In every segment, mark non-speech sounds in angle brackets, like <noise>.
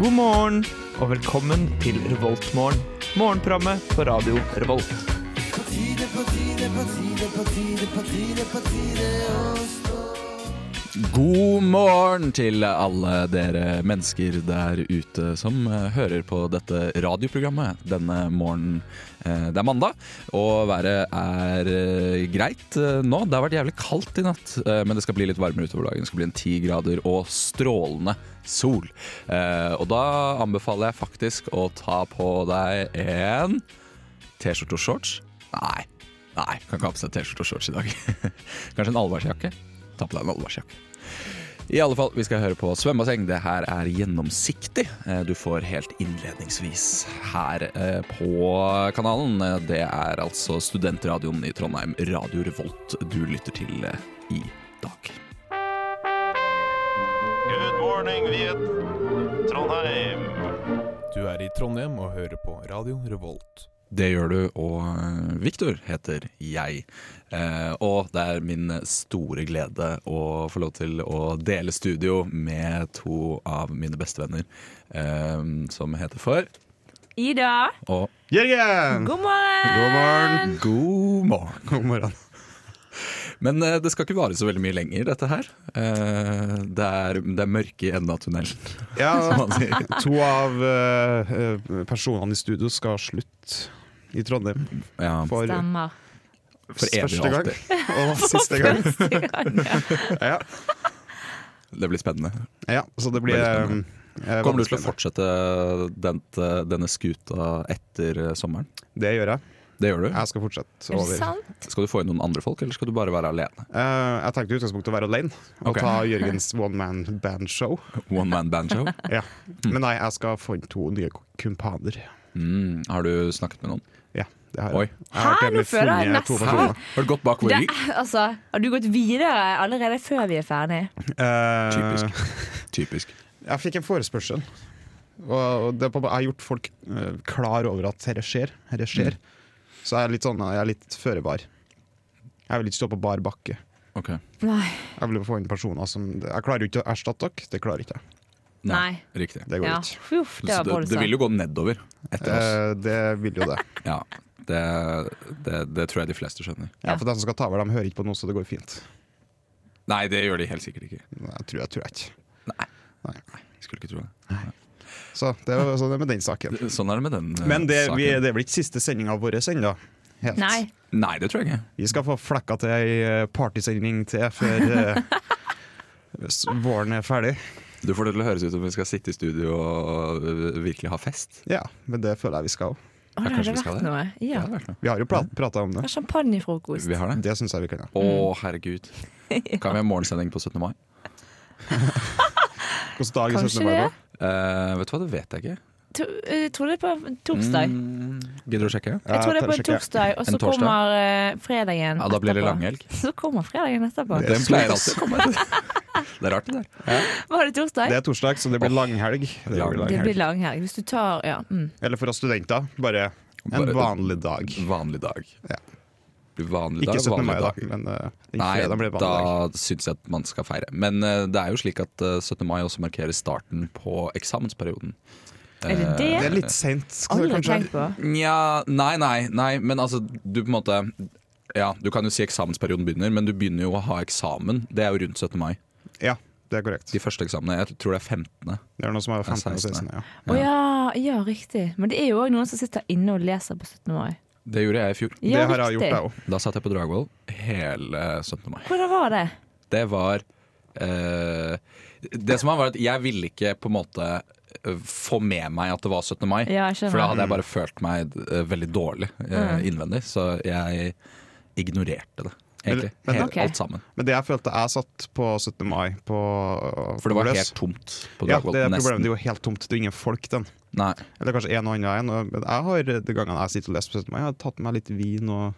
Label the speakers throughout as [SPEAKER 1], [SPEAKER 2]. [SPEAKER 1] God morgen og velkommen til Revoltmorgen. Morgenprogrammet på radio Revolt.
[SPEAKER 2] God morgen til alle dere mennesker der ute som eh, hører på dette radioprogrammet denne morgenen. Eh, Det er mandag, og været er eh, greit eh, nå. Det har vært jævlig kaldt i natt, eh, men det skal bli litt varmere utover dagen. Det skal bli en ti grader og strålende sol. Eh, Og da anbefaler jeg faktisk å ta på deg en T-skjorte og shorts? Nei. Nei, kan ikke ha på seg T-skjorte og shorts i dag. <laughs> Kanskje en allværsjakke? Ta på deg en allværsjakke. I alle fall, vi skal høre på svømmebasseng. Det her er gjennomsiktig. eh, Du får helt innledningsvis her eh, på kanalen. Eh, Det er altså studentradioen i Trondheim, Radio Revolt, du lytter til eh, i dag.
[SPEAKER 3] Good morning, Viet. Trondheim.
[SPEAKER 4] Du er i Trondheim og hører på Radio Revolt.
[SPEAKER 2] Det gjør du, og eh, Victor heter jeg. Eh, og det er min store glede å få lov til å dele studio med to av mine bestevenner, eh, som heter for
[SPEAKER 5] Ida.
[SPEAKER 2] og
[SPEAKER 6] Jørgen!
[SPEAKER 5] God morgen!
[SPEAKER 2] God
[SPEAKER 6] God morgen.
[SPEAKER 2] morgen.
[SPEAKER 6] <laughs> God morgen.
[SPEAKER 2] Men eh, det skal ikke vare så veldig mye lenger, dette her. Eh, det, er, det er mørke i enden av tunnelen,
[SPEAKER 5] <laughs>
[SPEAKER 2] som
[SPEAKER 6] Ja,
[SPEAKER 2] man sier.
[SPEAKER 6] to av eh, eh, personene i studio skal slutte i Trondheim
[SPEAKER 2] Ja,
[SPEAKER 6] for
[SPEAKER 5] Stemmer.
[SPEAKER 2] for evig
[SPEAKER 6] første
[SPEAKER 2] og
[SPEAKER 6] gang.
[SPEAKER 2] alltid.
[SPEAKER 6] <laughs> Og siste
[SPEAKER 5] <laughs>
[SPEAKER 6] gang. Ja,
[SPEAKER 2] Det blir spennende.
[SPEAKER 6] ja så det blir
[SPEAKER 2] Veldig
[SPEAKER 6] eh,
[SPEAKER 2] spennende.
[SPEAKER 6] eh,
[SPEAKER 2] Kommer du til å
[SPEAKER 6] vanskelig.
[SPEAKER 2] fortsette den, eh, denne skuta etter eh, sommeren?
[SPEAKER 6] Det gjør jeg.
[SPEAKER 2] Det gjør du?
[SPEAKER 6] Jeg skal fortsette.
[SPEAKER 5] Er det
[SPEAKER 6] Over.
[SPEAKER 5] sant? <laughs>
[SPEAKER 2] Skal du få inn noen andre folk, eller skal du bare være alene?
[SPEAKER 6] Eh, jeg tenkte i utgangspunktet å være alene og
[SPEAKER 2] Ok.
[SPEAKER 6] ta Jørgens one man band show.
[SPEAKER 2] One man
[SPEAKER 6] <laughs>
[SPEAKER 2] banjo?
[SPEAKER 6] Ja. Men nei, jeg skal få inn to nye kumpaner.
[SPEAKER 2] Mm, har du snakket med noen?
[SPEAKER 6] Ja, det har
[SPEAKER 2] Oi.
[SPEAKER 6] jeg. jeg har
[SPEAKER 5] Hæ,
[SPEAKER 6] nemlig
[SPEAKER 5] nå føler jeg
[SPEAKER 6] funnet to
[SPEAKER 5] nesten-
[SPEAKER 6] personer.
[SPEAKER 2] Har du gått bak vår
[SPEAKER 5] Det,
[SPEAKER 2] rygg?
[SPEAKER 5] altså, har du gått videre allerede før vi er ferdig?
[SPEAKER 6] Eh,
[SPEAKER 2] Typisk. Typisk.
[SPEAKER 6] Jeg fikk en forespørsel. Og og det er på, jeg har gjort folk eh, klar over at dette skjer. Dette skjer. Så jeg er litt sånn, jeg er litt føre var. Jeg vil ikke stå på bar bakke.
[SPEAKER 2] Ok.
[SPEAKER 5] Nei.
[SPEAKER 6] Jeg vil få inn personer som Jeg klarer jo ikke å erstatte dere. Det klarer ikke jeg.
[SPEAKER 5] Nei.
[SPEAKER 2] Riktig.
[SPEAKER 6] Det går
[SPEAKER 5] Ja.
[SPEAKER 6] ikke.
[SPEAKER 5] Uff, det
[SPEAKER 2] Så
[SPEAKER 5] var
[SPEAKER 2] det, det vil
[SPEAKER 5] voldsomt.
[SPEAKER 2] jo gå nedover etter oss.
[SPEAKER 6] Eh, det vil jo det.
[SPEAKER 2] Ja, det, det, det tror jeg de fleste skjønner.
[SPEAKER 6] Ja, for de som skal ta over, de hører ikke på noe, så det går fint.
[SPEAKER 2] Nei, det gjør de helt sikkert ikke.
[SPEAKER 6] Nei, Jeg tror jeg tror jeg ikke.
[SPEAKER 2] Skulle ikke tro det.
[SPEAKER 6] Så det er jo sånn det er med den saken.
[SPEAKER 2] Det- Sånn er det med den eh,
[SPEAKER 6] Men det,
[SPEAKER 2] saken.
[SPEAKER 6] vi, det er vel ikke siste sendinga vår ennå? Helt.
[SPEAKER 5] Nei.
[SPEAKER 2] Nei, det tror jeg ikke.
[SPEAKER 6] Vi skal få flekka til ei eh, partysending til før eh, s- våren er ferdig.
[SPEAKER 2] Du får det til å høres ut som vi skal sitte i studio og øh, virkelig ha fest.
[SPEAKER 6] Ja, men det føler jeg vi skal òg.
[SPEAKER 5] Å, det
[SPEAKER 2] kanskje vi
[SPEAKER 5] hadde
[SPEAKER 2] skal
[SPEAKER 5] vært
[SPEAKER 2] det.
[SPEAKER 5] noe.
[SPEAKER 2] Det
[SPEAKER 5] Ja.
[SPEAKER 2] hadde vært noe.
[SPEAKER 6] Vi har jo prata om det.
[SPEAKER 5] Champagnefrokost.
[SPEAKER 2] Vi har det. Mm.
[SPEAKER 6] Det syns jeg vi kan ha.
[SPEAKER 2] Å, herregud.
[SPEAKER 5] <laughs>
[SPEAKER 2] Kan vi ha morgensending på 17. mai?
[SPEAKER 6] Hvilken dag er 17.
[SPEAKER 5] Kanskje
[SPEAKER 6] mai?
[SPEAKER 5] det?
[SPEAKER 6] da?
[SPEAKER 2] Eh, vet du hva, det vet jeg ikke.
[SPEAKER 5] To, jeg eh, tror det er på torsdag.
[SPEAKER 2] Mm, gidder du å sjekke?
[SPEAKER 6] Ja,
[SPEAKER 5] Jeg tror det er på en
[SPEAKER 6] kanskje ikke.
[SPEAKER 5] torsdag, og
[SPEAKER 2] En
[SPEAKER 5] så
[SPEAKER 2] torsdag?
[SPEAKER 5] kommer eh, fredagen
[SPEAKER 2] Ja, da blir det
[SPEAKER 5] etterpå.
[SPEAKER 2] langhelg.
[SPEAKER 5] Så kommer fredagen etterpå.
[SPEAKER 6] Det er
[SPEAKER 2] Den
[SPEAKER 6] stort,
[SPEAKER 2] pleier
[SPEAKER 6] ass.
[SPEAKER 2] alltid å komme <laughs> etter. Det er rart, det der.
[SPEAKER 5] Var det torsdag?
[SPEAKER 6] Det er torsdag, så det blir
[SPEAKER 2] Åh.
[SPEAKER 6] langhelg. Det
[SPEAKER 2] Ja,
[SPEAKER 6] blir
[SPEAKER 2] det
[SPEAKER 5] Det blir
[SPEAKER 6] langhelg.
[SPEAKER 5] langhelg. Hvis du tar Ja. Mm.
[SPEAKER 6] Eller for oss studenter, bare en
[SPEAKER 2] Bare-
[SPEAKER 6] vanlig dag.
[SPEAKER 2] Vanlig dag.
[SPEAKER 6] Ja.
[SPEAKER 2] Blir vanlig dag,
[SPEAKER 6] Ikke 17. mai,
[SPEAKER 2] vanlig
[SPEAKER 6] da,
[SPEAKER 2] dag.
[SPEAKER 6] men eh, den fredag
[SPEAKER 2] Nei,
[SPEAKER 6] blir vanlig dag.
[SPEAKER 2] da syns jeg at man skal feire. Men eh, det er jo slik at eh, 17. mai også markerer starten på eksamensperioden.
[SPEAKER 5] Er det det?
[SPEAKER 6] Det er litt seint,
[SPEAKER 5] Aldri
[SPEAKER 6] kanskje.
[SPEAKER 5] tenkt på.
[SPEAKER 2] Nja, nei, nei, nei, men altså du på en måte Ja, du kan jo si eksamensperioden begynner, men du begynner jo å ha eksamen. Det er jo rundt 17. mai.
[SPEAKER 6] Ja, det er korrekt.
[SPEAKER 2] De første eksamene. Jeg tror det er 15.
[SPEAKER 6] Det er noe som er 15 og 16.
[SPEAKER 2] 16,
[SPEAKER 6] Ja.
[SPEAKER 5] Å ja, ja, riktig. Men det er jo òg noen som sitter inne og leser på 17. mai.
[SPEAKER 2] Det gjorde jeg i fjor.
[SPEAKER 6] Det
[SPEAKER 5] Ja,
[SPEAKER 6] har jeg gjort,
[SPEAKER 5] riktig.
[SPEAKER 6] jeg òg.
[SPEAKER 2] Da satt jeg på Dragvoll hele 17. mai.
[SPEAKER 5] Hvordan var det?
[SPEAKER 2] Det var eh, Det som var, var at jeg ville ikke på en måte eh, få med meg at det var 17. mai.
[SPEAKER 5] Ja, jeg skjønner.
[SPEAKER 2] for da
[SPEAKER 6] Mm.
[SPEAKER 2] hadde jeg bare følt meg eh, veldig dårlig eh,
[SPEAKER 5] Mm.
[SPEAKER 2] innvendig. Så jeg ignorerte det, egentlig.
[SPEAKER 6] Men- men-
[SPEAKER 2] Hele,
[SPEAKER 5] Ok.
[SPEAKER 2] Alt sammen.
[SPEAKER 6] Men det jeg følte jeg satt på 17. mai på
[SPEAKER 2] For det var
[SPEAKER 6] Nordløs.
[SPEAKER 2] helt tomt på
[SPEAKER 6] Ja,
[SPEAKER 2] Dragvoll.
[SPEAKER 6] det er problemet.
[SPEAKER 2] nesten.
[SPEAKER 6] Det er jo helt tomt. Det er ingen folk, den.
[SPEAKER 2] Nei.
[SPEAKER 6] Eller kanskje en og annen en. og- Men jeg har de gangene jeg sitter og leser på 17. mai, jeg har tatt med litt vin og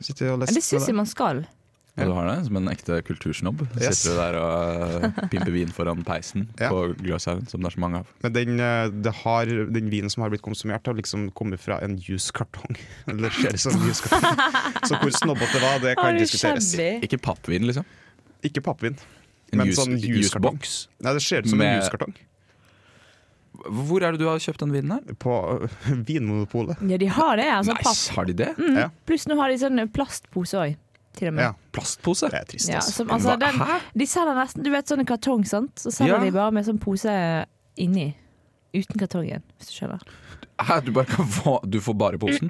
[SPEAKER 6] sitter og
[SPEAKER 5] Men
[SPEAKER 6] leser.
[SPEAKER 5] Mm, det syns jeg man skal.
[SPEAKER 2] Og Du har det som en ekte kultursnobb.
[SPEAKER 6] Yes.
[SPEAKER 2] Sitter du der og
[SPEAKER 6] <laughs>
[SPEAKER 2] eh, pimper vin foran peisen
[SPEAKER 6] Ja.
[SPEAKER 2] på Gløshaugen, som det er så mange av.
[SPEAKER 6] Men den, eh, det har, den vinen som har blitt konsumert, har liksom kommet fra en juskartong. <laughs> Eller ser ut som en juskartong.
[SPEAKER 5] <laughs>
[SPEAKER 6] Så hvor snobbete det var, det kan
[SPEAKER 5] Å, du
[SPEAKER 6] diskuteres.
[SPEAKER 5] shabby.
[SPEAKER 2] Ikke pappvin, liksom.
[SPEAKER 6] Ikke pappvin,
[SPEAKER 2] En
[SPEAKER 6] men
[SPEAKER 2] juice-
[SPEAKER 6] sånn juskartong.
[SPEAKER 2] juicebox.
[SPEAKER 6] Nei, det ser ut som en
[SPEAKER 2] Med-
[SPEAKER 6] juskartong.
[SPEAKER 2] Hvor er det du har kjøpt den vinen her?
[SPEAKER 6] På <laughs> øh, Vinmonopolet.
[SPEAKER 5] Ja, de har det. altså
[SPEAKER 2] Nei,
[SPEAKER 5] papp.
[SPEAKER 2] har de det?
[SPEAKER 5] Mm.
[SPEAKER 6] Ja.
[SPEAKER 5] Pluss nå har de sånn plastpose òg, til og med.
[SPEAKER 6] Ja,
[SPEAKER 2] Plastpose?
[SPEAKER 6] det er trist,
[SPEAKER 5] Ja,
[SPEAKER 6] altså.
[SPEAKER 5] som, altså,
[SPEAKER 2] Hva-
[SPEAKER 5] den,
[SPEAKER 2] Hæ?
[SPEAKER 5] de selger nesten Du vet sånne kartong, sant? Så selger
[SPEAKER 2] Ja.
[SPEAKER 5] de bare med sånn pose inni. Uten kartongen, hvis du skjønner.
[SPEAKER 2] Hæ? Du, bare kan få, du får bare posen?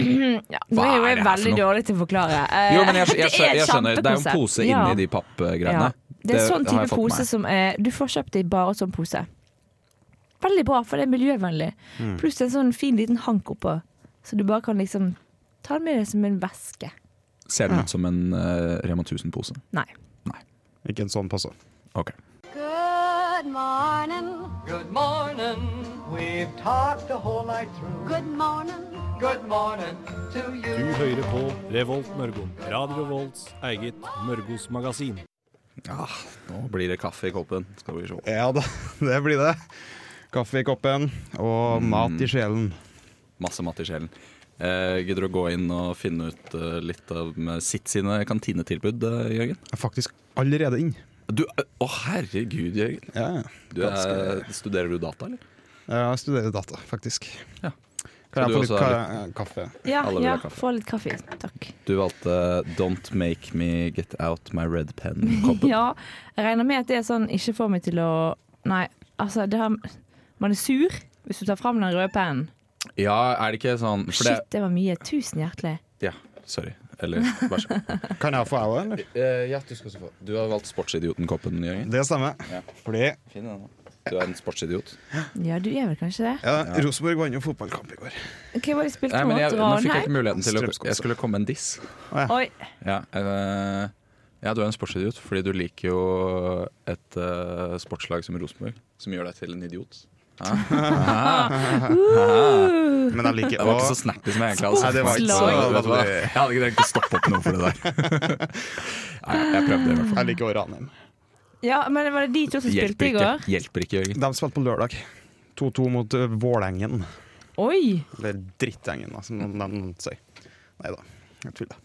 [SPEAKER 5] Ja, nå
[SPEAKER 2] Hva
[SPEAKER 5] er jo
[SPEAKER 2] er
[SPEAKER 5] jeg
[SPEAKER 2] det her for
[SPEAKER 5] veldig
[SPEAKER 2] noe?
[SPEAKER 5] dårlig til å forklare. Eh,
[SPEAKER 2] Jo, men jeg, jeg,
[SPEAKER 5] <laughs> det
[SPEAKER 2] skjø-
[SPEAKER 5] er et
[SPEAKER 2] jeg skjønner. Det er jo en
[SPEAKER 5] kjempekonsept.
[SPEAKER 2] pose
[SPEAKER 5] Ja.
[SPEAKER 2] inni de pappgreiene.
[SPEAKER 5] Ja. Det er
[SPEAKER 2] har
[SPEAKER 5] sånn type
[SPEAKER 2] jeg fått med
[SPEAKER 5] pose
[SPEAKER 2] meg.
[SPEAKER 5] som er Du får kjøpt det i bare sånn pose. Veldig bra, for det er miljøvennlig.
[SPEAKER 2] Mm.
[SPEAKER 5] Pluss en sånn fin liten hank oppå, så du bare kan liksom ta den med deg som en veske.
[SPEAKER 2] Ser den ut som en eh, Rema 1000-pose?
[SPEAKER 5] Nei.
[SPEAKER 6] Ikke en sånn passe.
[SPEAKER 2] Ok.
[SPEAKER 7] Good morning.
[SPEAKER 8] Good morning. We've talked the whole night through.
[SPEAKER 7] Good morning.
[SPEAKER 8] Good morning to you.
[SPEAKER 9] Du hører på Revolt Mørgon, Radio Revolts eget Mørgos magasin.
[SPEAKER 2] Ah, nå blir det kaffe i koppen. Skal vi se.
[SPEAKER 6] Ja da, <laughs> det blir det. Kaffe i koppen og
[SPEAKER 2] Mm.
[SPEAKER 6] mat i sjelen.
[SPEAKER 2] Masse mat i sjelen. Eh, gidder du å gå inn og finne ut eh, litt av med sitt sine kantinetilbud, eh, Jørgen?
[SPEAKER 6] Jeg er faktisk allerede inn.
[SPEAKER 2] Du, eh, å herregud, Jørgen.
[SPEAKER 6] Ja, ja.
[SPEAKER 2] Du er, studerer du data, eller?
[SPEAKER 6] Jeg studerer data, faktisk.
[SPEAKER 2] Ja.
[SPEAKER 6] Kan
[SPEAKER 2] Skal
[SPEAKER 6] jeg få
[SPEAKER 2] du
[SPEAKER 6] litt
[SPEAKER 2] også ha
[SPEAKER 6] ka kaffe?
[SPEAKER 5] Ja,
[SPEAKER 2] Alle vil
[SPEAKER 5] ja
[SPEAKER 2] ha kaffe.
[SPEAKER 5] få litt kaffe. Takk.
[SPEAKER 2] Du valgte eh, 'Don't make me get out my red
[SPEAKER 5] <laughs>
[SPEAKER 2] pen'-koppen.
[SPEAKER 5] Ja, jeg regner med at det er sånn ikke får meg til å Nei, altså det har, Man er sur hvis du tar fram den røde pennen.
[SPEAKER 2] Ja, er det ikke sånn for det,
[SPEAKER 5] Shit, det var mye. Tusen hjertelig.
[SPEAKER 2] Ja, sorry. Eller vær så <laughs> god.
[SPEAKER 6] Kan jeg få jeg òg, eller?
[SPEAKER 2] Eh, ja, du skal også få. Du har valgt sportsidioten-koppen, Jørgen.
[SPEAKER 6] Det stemmer. Fordi ja,
[SPEAKER 2] Fin den, da. Du er en sportsidiot.
[SPEAKER 5] Ja, du er vel kanskje det?
[SPEAKER 6] Rosenborg vant jo fotballkamp i går.
[SPEAKER 5] Hva var det de spilte
[SPEAKER 2] Nei, men
[SPEAKER 5] mot?
[SPEAKER 2] jeg, nå fikk jeg
[SPEAKER 5] Ranheim?
[SPEAKER 2] ikke muligheten til å
[SPEAKER 6] Strømsgodset.
[SPEAKER 2] Jeg skulle komme med en diss.
[SPEAKER 5] Oi.
[SPEAKER 2] Ja, eh, ja, du er en sportsidiot fordi du liker jo et eh, sportslag som Rosenborg, som gjør deg til en idiot.
[SPEAKER 6] Men jeg liker
[SPEAKER 2] Det var ikke så snappy som jeg egentlig hadde
[SPEAKER 6] Nei, det var ikke så-
[SPEAKER 2] Vet du hva? Jeg hadde ikke trengt å stoppe opp noe for det der.
[SPEAKER 6] <laughs>
[SPEAKER 2] Nei, jeg prøvde i hvert fall.
[SPEAKER 6] Jeg liker å Ranheim.
[SPEAKER 5] Ja, men var det de to som
[SPEAKER 2] Hjelper
[SPEAKER 5] spilte i
[SPEAKER 2] ikke,
[SPEAKER 5] går?
[SPEAKER 2] Hjelper ikke, Jørgen.
[SPEAKER 6] De spilte på lørdag. 2-2 mot uh, Vålengen.
[SPEAKER 5] Oi!
[SPEAKER 6] Eller Drittengen, da, som de sier. Nei da, jeg tuller.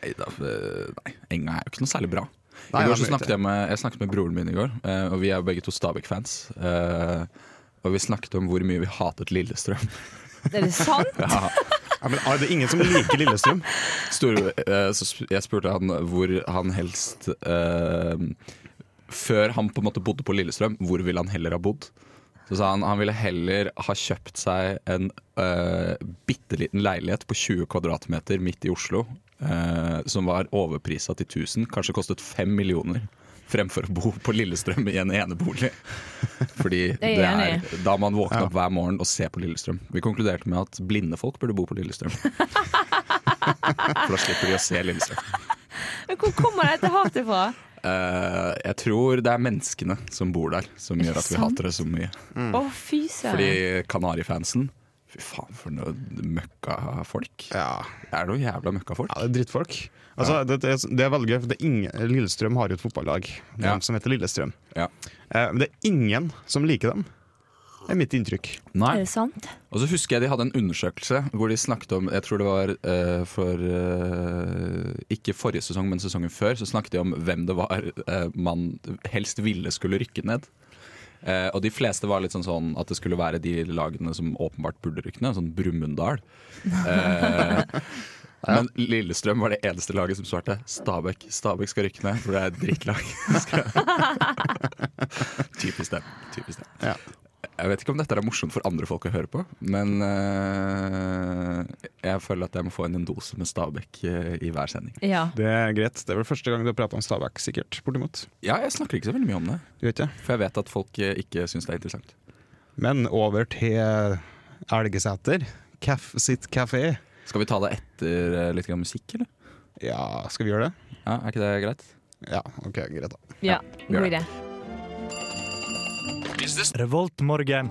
[SPEAKER 2] Nei, da, eh, nei, Enga er jo ikke noe særlig bra.
[SPEAKER 6] Nei,
[SPEAKER 2] I
[SPEAKER 6] det er
[SPEAKER 2] går så
[SPEAKER 6] mye
[SPEAKER 2] snakket jeg, med, jeg snakket med broren min i går, eh, og vi er jo begge to Stabæk-fans. eh, og vi snakket om hvor mye vi hatet Lillestrøm.
[SPEAKER 5] Er det
[SPEAKER 2] <laughs>
[SPEAKER 5] sant?
[SPEAKER 6] Ja, men, ah, det er ingen som liker Lillestrøm.
[SPEAKER 2] Stor, eh, så sp- jeg spurte han hvor han helst eh, Før han på en måte bodde på Lillestrøm, hvor ville han heller ha bodd? Så sa han han ville heller ha kjøpt seg en uh, bitte liten leilighet på 20 kvadratmeter midt i Oslo, eh, som var overprisa til 1000, kanskje kostet 5 millioner, fremfor å bo på Lillestrøm i en enebolig. Fordi det
[SPEAKER 5] er jeg
[SPEAKER 2] er,
[SPEAKER 5] enig
[SPEAKER 2] da man våkne opp hver morgen og se på Lillestrøm. Vi konkluderte med at blinde folk burde bo på
[SPEAKER 5] <laughs>
[SPEAKER 2] Lillestrøm. For da slipper de å se Lillestrøm.
[SPEAKER 5] Men hvor kommer dette hatet fra?
[SPEAKER 2] Eh, jeg tror det er menneskene som bor der, som gjør at vi
[SPEAKER 5] sant?
[SPEAKER 2] hater det så mye.
[SPEAKER 5] Å, fy
[SPEAKER 2] Mm. Fordi
[SPEAKER 5] søren.
[SPEAKER 2] Kanarifansen Fy faen, for noe møkkafolk.
[SPEAKER 6] Ja,
[SPEAKER 2] Det er noe jævla møkkafolk.
[SPEAKER 6] ja det er drittfolk. Altså, det, det, er- det er veldig gøy, for det er ingen, Lillestrøm har jo et fotballag de
[SPEAKER 2] Ja.
[SPEAKER 6] som heter Lillestrøm.
[SPEAKER 2] Ja.
[SPEAKER 6] Eh, men det er ingen som liker dem. Det er mitt inntrykk.
[SPEAKER 2] Nei.
[SPEAKER 5] Er det sant?
[SPEAKER 2] Og så husker jeg de hadde en undersøkelse hvor de snakket om Jeg tror det var eh, for eh, Ikke forrige sesong, men sesongen før. Så snakket de om hvem det var eh, man helst ville skulle rykke ned. Eh, og de fleste var litt sånn sånn at det skulle være de lagene som åpenbart burde rykke ned. Sånn Brumunddal. Eh, Men Lillestrøm var det eneste laget som svarte Stabæk. Stabæk skal rykke ned, for det er et drittlag. <laughs> Typisk dem. Typisk dem.
[SPEAKER 6] Ja.
[SPEAKER 2] Jeg vet ikke om dette er morsomt for andre folk å høre på, men eh, jeg føler at jeg må få inn en dose med Stabæk eh, i hver sending.
[SPEAKER 5] Ja.
[SPEAKER 6] Det er greit. Det er vel første gang du har prata om Stabæk, sikkert. Bortimot.
[SPEAKER 2] Ja, jeg snakker ikke så veldig mye om det,
[SPEAKER 6] Du vet det.
[SPEAKER 2] for jeg vet at folk eh, ikke syns det er interessant.
[SPEAKER 6] Men over til Elgeseter. Kaf sitt kafé.
[SPEAKER 2] Skal vi ta det etter eh, litt grann musikk, eller?
[SPEAKER 6] Ja, skal vi gjøre det?
[SPEAKER 2] Ja, Er ikke det greit?
[SPEAKER 6] Ja, ok, greit da.
[SPEAKER 5] ja. God idé.
[SPEAKER 1] Revoltmorgen.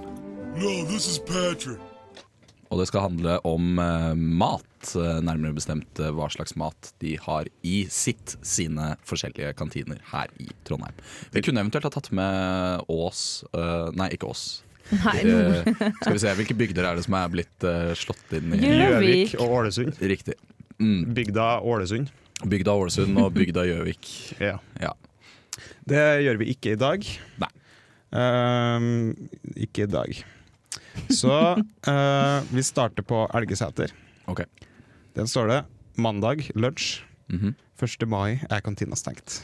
[SPEAKER 2] Og det skal handle om eh, mat, eh, nærmere bestemt eh, hva slags mat de har i sitt sine forskjellige kantiner her i Trondheim. Vi kunne eventuelt ha tatt med Ås eh, Nei, ikke Ås.
[SPEAKER 5] <laughs> Nei, nå- <laughs>
[SPEAKER 2] Eh, skal vi se, Hvilke bygder er det som er blitt eh, slått inn i?
[SPEAKER 5] Gjøvik.
[SPEAKER 6] Gjøvik og Ålesund.
[SPEAKER 2] Riktig. Mm.
[SPEAKER 6] Bygda Ålesund.
[SPEAKER 2] Bygda Ålesund og bygda Gjøvik.
[SPEAKER 6] Ja.
[SPEAKER 2] Ja.
[SPEAKER 6] Det gjør vi ikke i dag.
[SPEAKER 2] Nei.
[SPEAKER 6] Ehm, ikke i dag.
[SPEAKER 2] <laughs>
[SPEAKER 6] Så eh, vi starter på Elgeseter.
[SPEAKER 2] Ok.
[SPEAKER 6] Den står det 'Mandag lunsj'.
[SPEAKER 2] Mhm.
[SPEAKER 6] 1. mai er kantina stengt.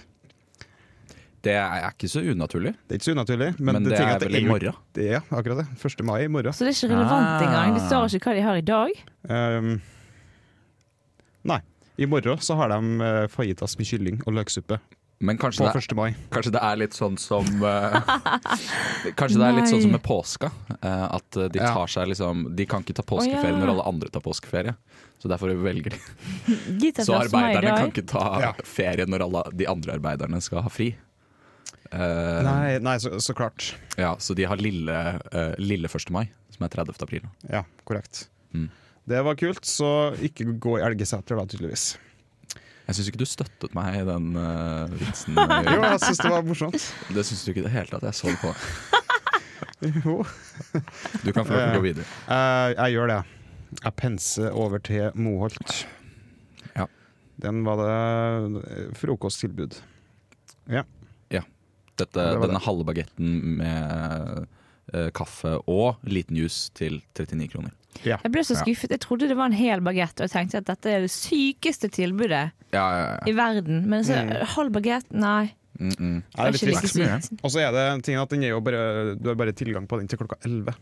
[SPEAKER 2] Det er ikke så unaturlig,
[SPEAKER 6] Det er ikke så unaturlig, men,
[SPEAKER 2] men,
[SPEAKER 6] det,
[SPEAKER 2] det,
[SPEAKER 6] ting
[SPEAKER 2] er
[SPEAKER 6] at det
[SPEAKER 2] vel i
[SPEAKER 6] jo-
[SPEAKER 2] morgen.
[SPEAKER 6] Det, ja, akkurat det. 1. mai i morgen.
[SPEAKER 5] Så det er ikke relevant
[SPEAKER 2] Ah.
[SPEAKER 5] engang. Det står ikke hva de har i dag.
[SPEAKER 6] Ehm, nei. I morgen så har de eh, fajitas med kylling og løksuppe
[SPEAKER 2] Men kanskje
[SPEAKER 6] på
[SPEAKER 2] det,
[SPEAKER 6] 1. mai.
[SPEAKER 2] er, kanskje det er litt sånn som
[SPEAKER 5] <laughs>
[SPEAKER 2] eh, Kanskje det er litt sånn som med påska. eh, at eh, de
[SPEAKER 6] Ja.
[SPEAKER 2] tar seg liksom De kan ikke ta
[SPEAKER 5] Å,
[SPEAKER 2] påskeferie
[SPEAKER 5] ja.
[SPEAKER 2] når alle andre tar påskeferie. Så derfor velger de.
[SPEAKER 5] De tar
[SPEAKER 2] Så
[SPEAKER 5] første mai i
[SPEAKER 2] arbeiderne kan
[SPEAKER 5] dag.
[SPEAKER 2] ikke ta
[SPEAKER 6] Ja.
[SPEAKER 2] ferie når alle de andre arbeiderne skal ha fri. Eh,
[SPEAKER 6] Nei, nei så, så klart.
[SPEAKER 2] ja, så de har lille, eh, lille 1. mai, som er 30. april.
[SPEAKER 6] Ja, korrekt.
[SPEAKER 2] Mm.
[SPEAKER 6] Det var kult, så ikke gå i Elgeseter da, tydeligvis.
[SPEAKER 2] Jeg syns ikke du støttet meg i den eh,
[SPEAKER 6] <laughs>
[SPEAKER 2] vitsen.
[SPEAKER 6] Jo,
[SPEAKER 2] Jørgen.
[SPEAKER 6] jeg syns det var morsomt.
[SPEAKER 2] det syns du ikke i det hele tatt. Jeg så det på deg.
[SPEAKER 6] Jo.
[SPEAKER 2] Du kan få lov til å gå videre.
[SPEAKER 6] Eh, jeg gjør det. Jeg penser over til Moholt.
[SPEAKER 2] Ja.
[SPEAKER 6] Den var det eh, frokosttilbud.
[SPEAKER 2] Dette,
[SPEAKER 6] Det var
[SPEAKER 2] denne
[SPEAKER 6] det.
[SPEAKER 2] halve bagetten med eh, kaffe og liten juice til 39 kroner.
[SPEAKER 5] Jeg ble så
[SPEAKER 2] Ja.
[SPEAKER 5] skuffet. Jeg trodde det var en hel bagett, og jeg tenkte at dette er det sykeste tilbudet
[SPEAKER 2] Ja, ja, ja.
[SPEAKER 5] i verden. Men så halv bagett, nei.
[SPEAKER 2] Mm -mm.
[SPEAKER 6] Ja, det er litt
[SPEAKER 5] ikke like
[SPEAKER 6] trist.
[SPEAKER 2] mye.
[SPEAKER 5] sykt.
[SPEAKER 6] Og så er det tingen at den er jo bare, du har bare tilgang på den til klokka 11.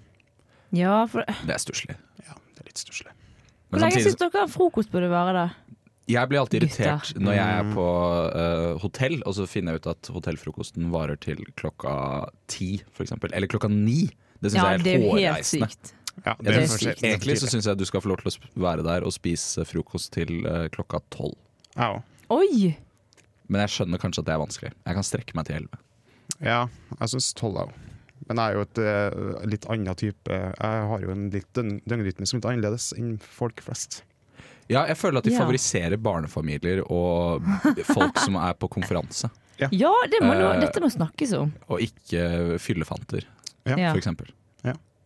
[SPEAKER 5] Ja, for
[SPEAKER 2] Det er stusslig.
[SPEAKER 6] Ja, det er litt stusslig.
[SPEAKER 5] Hvor
[SPEAKER 2] Men
[SPEAKER 5] lenge
[SPEAKER 2] samtidig,
[SPEAKER 5] syns dere en frokost burde vare, da?
[SPEAKER 2] jeg blir alltid irritert
[SPEAKER 5] Gutta.
[SPEAKER 2] når jeg
[SPEAKER 6] Mm.
[SPEAKER 2] er på eh, hotell, og så finner jeg ut at hotellfrokosten varer til klokka ti, for eksempel. Eller klokka ni. Det syns
[SPEAKER 5] Ja,
[SPEAKER 2] jeg
[SPEAKER 5] det
[SPEAKER 2] er
[SPEAKER 5] er jo helt
[SPEAKER 2] hårreisende.
[SPEAKER 5] sykt.
[SPEAKER 6] Ja,
[SPEAKER 2] Jeg
[SPEAKER 5] det er
[SPEAKER 2] synes-
[SPEAKER 5] sykt.
[SPEAKER 2] Egentlig så syns jeg du skal få lov til å sp- være der og spise frokost til eh, klokka tolv.
[SPEAKER 6] Au.
[SPEAKER 5] Oi!
[SPEAKER 2] Men jeg skjønner kanskje at det er vanskelig. Jeg kan strekke meg til elleve.
[SPEAKER 6] Ja, jeg syns tolv au. Men jeg er jo et eh, litt annen type Jeg har jo en litt døgn- døgnrytme som er litt annerledes enn folk flest.
[SPEAKER 2] Ja, jeg føler at de
[SPEAKER 5] Ja.
[SPEAKER 2] favoriserer barnefamilier og folk som er på konferanse.
[SPEAKER 5] Ja, det må nå,
[SPEAKER 2] Eh.
[SPEAKER 5] dette må snakkes om.
[SPEAKER 2] Og ikke fyllefanter,
[SPEAKER 6] Ja.
[SPEAKER 5] Ja.
[SPEAKER 2] for eksempel.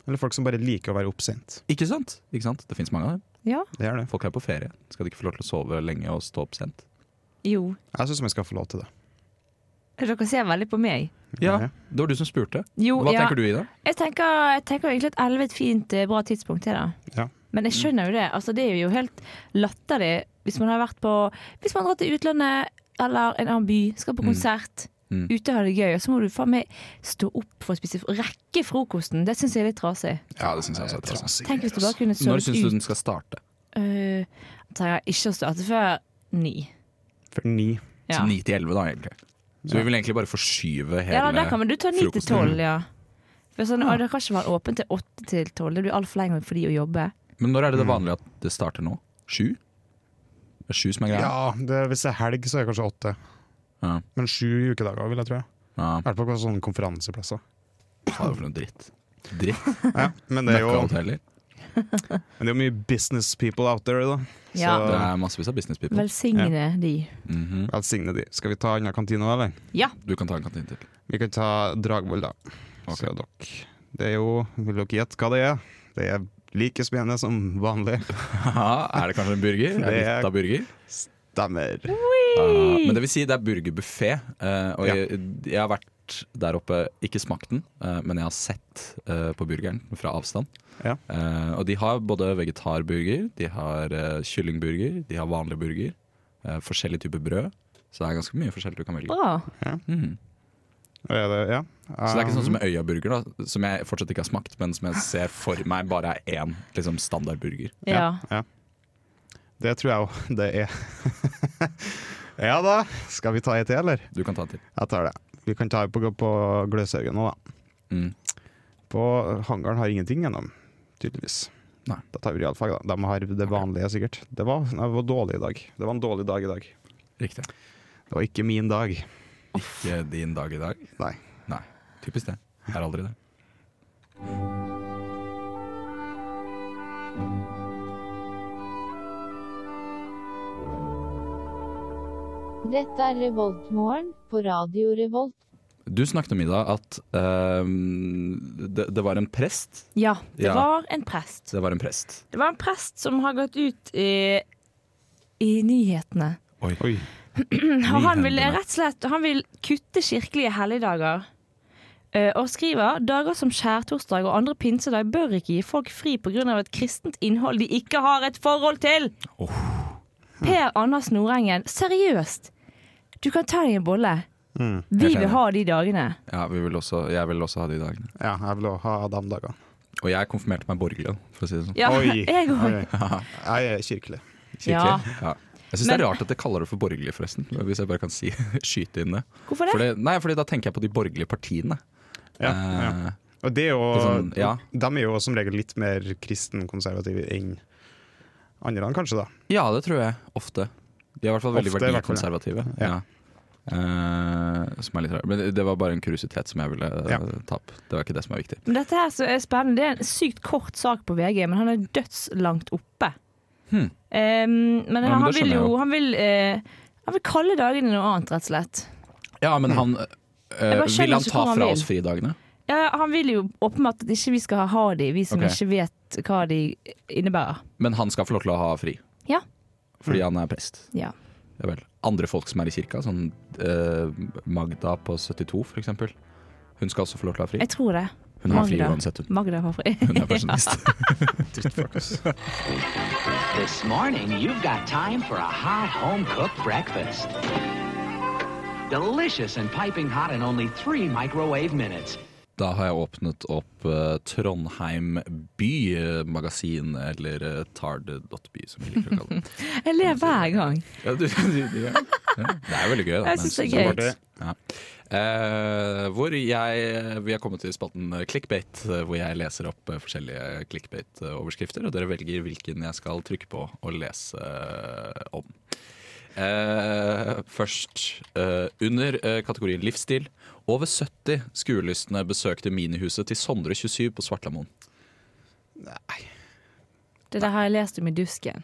[SPEAKER 6] Eller folk som bare liker å være opp sent.
[SPEAKER 2] Ikke sant? Ikke sant? Det fins mange av dem.
[SPEAKER 5] Ja,
[SPEAKER 6] Det er det.
[SPEAKER 2] Folk er på ferie. Skal de ikke få lov til å sove lenge og stå opp sent?
[SPEAKER 5] jo.
[SPEAKER 6] Jeg syns man skal få lov til det.
[SPEAKER 5] Dere ser veldig på meg.
[SPEAKER 2] Ja, Det var du som spurte.
[SPEAKER 5] Jo,
[SPEAKER 2] Hva
[SPEAKER 5] ja.
[SPEAKER 2] tenker du, Ida?
[SPEAKER 5] Jeg tenker, jeg tenker egentlig at 11 er et fint, eh, bra tidspunkt til det.
[SPEAKER 6] Ja.
[SPEAKER 5] Men jeg skjønner jo det. Altså, det er jo helt latterlig hvis man har vært på Hvis man har dratt til utlandet eller en annen by, skal på konsert,
[SPEAKER 2] Mm.
[SPEAKER 5] ute har det gøy, og så må du faen meg stå opp for å spise Rekke frokosten! Det syns jeg er litt trasig.
[SPEAKER 2] Ja, det syns jeg også er trasig.
[SPEAKER 5] Tenk hvis du bare kunne
[SPEAKER 2] Når
[SPEAKER 5] sovet
[SPEAKER 2] syns du
[SPEAKER 5] ut.
[SPEAKER 2] den skal starte?
[SPEAKER 5] Øh, jeg trenger ikke å starte før ni.
[SPEAKER 6] For ni.
[SPEAKER 5] Ja.
[SPEAKER 2] Så 9 til 11, da, egentlig. Så vi vil egentlig bare forskyve hele
[SPEAKER 5] Ja, da kan man du ta ni til
[SPEAKER 2] frokosten.
[SPEAKER 5] tolv, ja. For sånn, å, det kan ikke være åpent til åtte til tolv. Det blir altfor lenge for de å jobbe.
[SPEAKER 2] Men når er det
[SPEAKER 6] Mm.
[SPEAKER 2] det vanlige at det starter nå? Sju? Det er sju som er greia?
[SPEAKER 6] Ja, det, hvis det er helg, så er det kanskje åtte.
[SPEAKER 2] Ja.
[SPEAKER 6] Men sju ukedager, vil jeg tro. I
[SPEAKER 2] ja.
[SPEAKER 6] hvert fall på sånne konferanseplasser.
[SPEAKER 2] Fader, for noe dritt. Dritt.
[SPEAKER 6] Ja, men, det er jo,
[SPEAKER 2] Møkkahoteller.
[SPEAKER 6] men det er jo mye business people out there, da.
[SPEAKER 5] Ja.
[SPEAKER 2] Det er massevis av business people.
[SPEAKER 5] Velsigne de.
[SPEAKER 2] Mhm.
[SPEAKER 6] Velsigne de. Skal vi ta unna kantina, eller?
[SPEAKER 5] Ja.
[SPEAKER 2] Du kan ta en kantine til. <laughs>
[SPEAKER 6] Vi kan ta Dragvoll, da.
[SPEAKER 2] Ok.
[SPEAKER 6] Så dere. Det er jo Vil dere gjette hva det er? Det er like spennende som vanlig.
[SPEAKER 2] <laughs> Haha, er det kanskje en burger? Er det
[SPEAKER 6] Det er-
[SPEAKER 2] litt av burger?
[SPEAKER 6] Stemmer.
[SPEAKER 2] Ah, men det vil si det er burgerbuffé. eh, og
[SPEAKER 6] Ja.
[SPEAKER 2] jeg, jeg har vært der oppe, ikke smakt den, eh, men jeg har sett eh, på burgeren fra avstand.
[SPEAKER 6] Ja.
[SPEAKER 2] Eh, og de har både vegetarburger, de har eh, kyllingburger, de har vanlig burger. eh, forskjellige typer brød. Så det er ganske mye forskjellig du kan velge.
[SPEAKER 5] Bra.
[SPEAKER 2] Mhm.
[SPEAKER 6] Er det, ja.
[SPEAKER 2] Så det er ikke sånn som med Øya-burger, da, som jeg fortsatt ikke har smakt, men som jeg ser for meg bare er én liksom, standardburger.
[SPEAKER 5] Ja.
[SPEAKER 6] Det tror jeg jo <laughs> det er. <laughs> ja da. Skal vi ta en til, eller?
[SPEAKER 2] Du kan ta en til.
[SPEAKER 6] Jeg tar det. Vi kan ta på, på Gløshaugen nå, da.
[SPEAKER 2] Mm.
[SPEAKER 6] På hangaren har ingenting gjennom, tydeligvis.
[SPEAKER 2] Nei.
[SPEAKER 6] Da tar vi realfag, da. De har det vanlige, sikkert. Det var, nei, det var dårlig i dag. Det var en dårlig dag i dag.
[SPEAKER 2] Riktig.
[SPEAKER 6] Det var ikke min dag.
[SPEAKER 2] Ikke din dag i dag.
[SPEAKER 6] Nei.
[SPEAKER 2] Nei. Typisk det. Er aldri det.
[SPEAKER 10] Dette er Revoltmorgen på Radio Revolt.
[SPEAKER 2] Du snakket om i dag at ehm, det, det var en prest.
[SPEAKER 5] Ja, det
[SPEAKER 2] Ja.
[SPEAKER 5] var en prest.
[SPEAKER 2] Det var en prest.
[SPEAKER 5] Det var en prest som har gått ut i, i nyhetene.
[SPEAKER 6] Oi.
[SPEAKER 5] Og han vil
[SPEAKER 2] Nyhendene.
[SPEAKER 5] rett og slett han vil kutte kirkelige helligdager. Eh, Og skriver dager som skjærtorsdag og andre pinsedag bør ikke gi folk fri pga. et kristent innhold de ikke har et forhold til. Per Anders Nordengen, seriøst! Du kan ta deg en bolle. Vi
[SPEAKER 6] Mm.
[SPEAKER 2] Helt
[SPEAKER 5] vil
[SPEAKER 2] enig.
[SPEAKER 5] ha de dagene.
[SPEAKER 2] Ja, vi vil også, jeg vil også ha de dagene.
[SPEAKER 6] Ja, jeg vil også ha de dagene.
[SPEAKER 2] Og jeg konfirmerte meg borgerlig, for å si det sånn.
[SPEAKER 5] Ja,
[SPEAKER 6] Oi.
[SPEAKER 5] <laughs> jeg òg.
[SPEAKER 6] Ok.
[SPEAKER 2] <laughs>
[SPEAKER 6] Jeg er kirkelig.
[SPEAKER 5] Ja.
[SPEAKER 2] Kirkelig. Ja. Jeg syns det er rart at jeg kaller det for borgerlig, forresten. Hvis jeg bare kan si, <laughs> skyte inn det.
[SPEAKER 5] Hvorfor det?
[SPEAKER 2] Fordi, nei, fordi da tenker jeg på de borgerlige partiene. Eh,
[SPEAKER 6] Ja, ja. Og det er jo,
[SPEAKER 2] Litt sånn, ja.
[SPEAKER 6] De er jo som regel litt mer kristenkonservative enn andre land, kanskje. da
[SPEAKER 2] ja, det tror jeg. Ofte. De er i hvert fall veldig
[SPEAKER 6] Ofte, i hvert fall,
[SPEAKER 2] verdikonservative.
[SPEAKER 6] ja.
[SPEAKER 2] Ja. Eh, som er litt rart. Men det- det var bare en kuriositet som jeg ville eh,
[SPEAKER 6] Ja.
[SPEAKER 2] ta opp. Det var ikke det som var viktig.
[SPEAKER 5] Men dette her som er spennende, det er en sykt kort sak på VG, men han er dødslangt oppe.
[SPEAKER 2] Hmm.
[SPEAKER 5] Eh, men
[SPEAKER 2] men
[SPEAKER 5] han,
[SPEAKER 2] det skjønner
[SPEAKER 5] vil
[SPEAKER 2] jeg
[SPEAKER 5] jo
[SPEAKER 2] jo.
[SPEAKER 5] han vil, eh, han vil kalle dagene noe annet, rett og slett.
[SPEAKER 2] Ja,
[SPEAKER 6] Mm.
[SPEAKER 2] men han eh,
[SPEAKER 5] bare skjønner
[SPEAKER 2] Vil han
[SPEAKER 5] ikke
[SPEAKER 2] ta
[SPEAKER 5] hvor han
[SPEAKER 2] fra
[SPEAKER 5] vil.
[SPEAKER 2] oss fridagene?
[SPEAKER 5] Ja, han vil jo åpenbart at ikke vi skal ha de, vi som
[SPEAKER 2] Ok.
[SPEAKER 5] ikke vet hva de innebærer.
[SPEAKER 2] Men han skal få lov til å ha fri?
[SPEAKER 5] Ja.
[SPEAKER 2] Fordi
[SPEAKER 6] Mm.
[SPEAKER 2] han er prest?
[SPEAKER 5] Ja.
[SPEAKER 2] Ja vel. Andre folk som er i kirka, sånn eh, Magda på 72 for eksempel. Hun skal også få lov til å ha fri.
[SPEAKER 5] Jeg tror det.
[SPEAKER 2] Hun har fri
[SPEAKER 5] Magda.
[SPEAKER 2] uansett, hun.
[SPEAKER 5] Magda har fri.
[SPEAKER 2] <laughs>
[SPEAKER 5] <laughs>
[SPEAKER 2] Hun er pensjonist.
[SPEAKER 8] This morning, you've got time for a hot home cooked breakfast. Delicious and piping hot in only three microwave minutes.
[SPEAKER 2] Da har jeg åpnet opp eh, Trondheim by eh, magasin, eller eh, tard.by som vi liker å kalle det.
[SPEAKER 5] Jeg ler hver gang.
[SPEAKER 2] Ja, du, du, ja. Ja, det er veldig gøy. Da.
[SPEAKER 5] Jeg synes det er
[SPEAKER 2] gøy. Ja. Eh, hvor jeg, vi har kommet til spalten clickbait, eh, hvor jeg leser opp eh, forskjellige clickbait-overskrifter, og dere velger hvilken jeg skal trykke på og lese eh, om. Eh, først eh, under eh, kategorien livsstil. Over 70 skuelystne besøkte minihuset til Sondre 27 på Svartlamoen.
[SPEAKER 5] Det der har jeg lest om i dusken.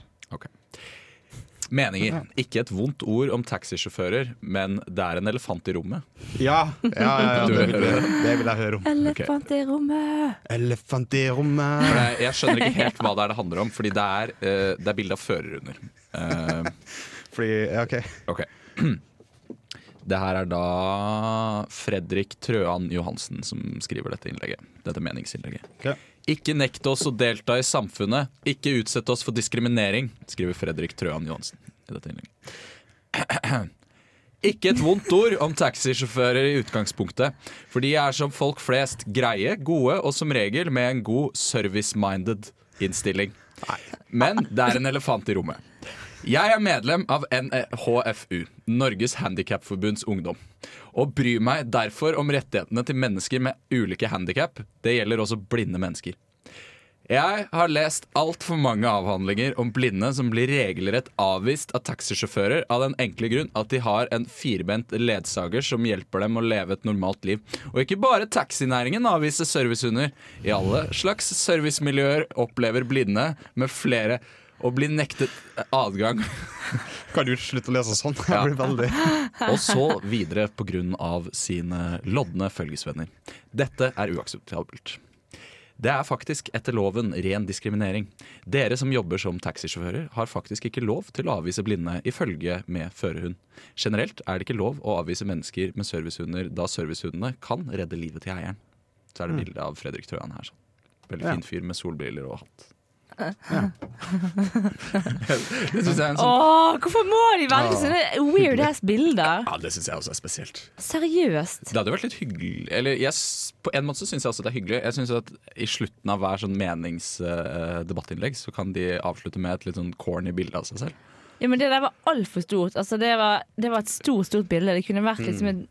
[SPEAKER 2] Meninger. Ikke et vondt ord om taxisjåfører, men det er en elefant i rommet.
[SPEAKER 6] Ja, ja, ja, ja
[SPEAKER 2] Du
[SPEAKER 6] det,
[SPEAKER 2] hører
[SPEAKER 6] vil jeg, det vil jeg høre om.
[SPEAKER 5] Elefant i rommet!
[SPEAKER 6] Elefant i rommet.
[SPEAKER 2] Jeg, jeg skjønner ikke helt hva det er det handler om, fordi det er, eh, det er bilde av fører under. Eh,
[SPEAKER 6] Fordi, ja, ok
[SPEAKER 2] ok. <clears throat> Det her er da Fredrik Trøan Johansen som skriver dette innlegget. Dette meningsinnlegget.
[SPEAKER 6] Ok.
[SPEAKER 2] Ikke nekt oss å delta i samfunnet. Ikke utsett oss for diskriminering, skriver Fredrik Trøan Johansen i dette innlegget. <clears throat> Ikke et vondt ord om taxisjåfører i utgangspunktet. For de er som folk flest greie, gode og som regel med en god service-minded innstilling. Men det er en elefant i rommet. Jeg er medlem av NHFU, Norges Handikapforbunds Ungdom, og bryr meg derfor om rettighetene til mennesker med ulike handikap. Det gjelder også blinde mennesker. Jeg har lest altfor mange avhandlinger om blinde som blir regelrett avvist av taxisjåfører av den enkle grunn at de har en firbent ledsager som hjelper dem å leve et normalt liv. Og ikke bare taxinæringen avviser servicehunder. I alle slags servicemiljøer opplever blinde med flere å bli nektet adgang
[SPEAKER 6] Kan du slutte å lese sånn?
[SPEAKER 2] Ja.
[SPEAKER 6] Jeg blir veldig
[SPEAKER 2] og så videre pga. sine lodne følgesvenner. Dette er uakseptabelt. Det er faktisk etter loven ren diskriminering. Dere som jobber som taxisjåfører, har faktisk ikke lov til å avvise blinde ifølge med førerhund. Generelt er det ikke lov å avvise mennesker med servicehunder, da servicehundene kan redde livet til eieren. Så er det bilde av Fredrik Trøan her. Sånn. Veldig fin fyr med solbriller og hatt. <laughs> det syns jeg er en sånn Ah.
[SPEAKER 5] Åh, hvorfor må de velge sånne weird ass bilder?
[SPEAKER 2] Ja, det syns jeg også er spesielt.
[SPEAKER 5] Seriøst.
[SPEAKER 2] Det hadde jo vært litt hyggelig Eller jeg, s- på en måte så syns jeg også det er hyggelig. Jeg synes at I slutten av hver sånn meningsdebattinnlegg så kan de avslutte med et litt sånn corny bilde av seg selv.
[SPEAKER 5] Ja, men Det der var altfor stort. Altså, det, var, det var et stort, stort bilde. Det kunne vært
[SPEAKER 2] Mm.
[SPEAKER 5] liksom et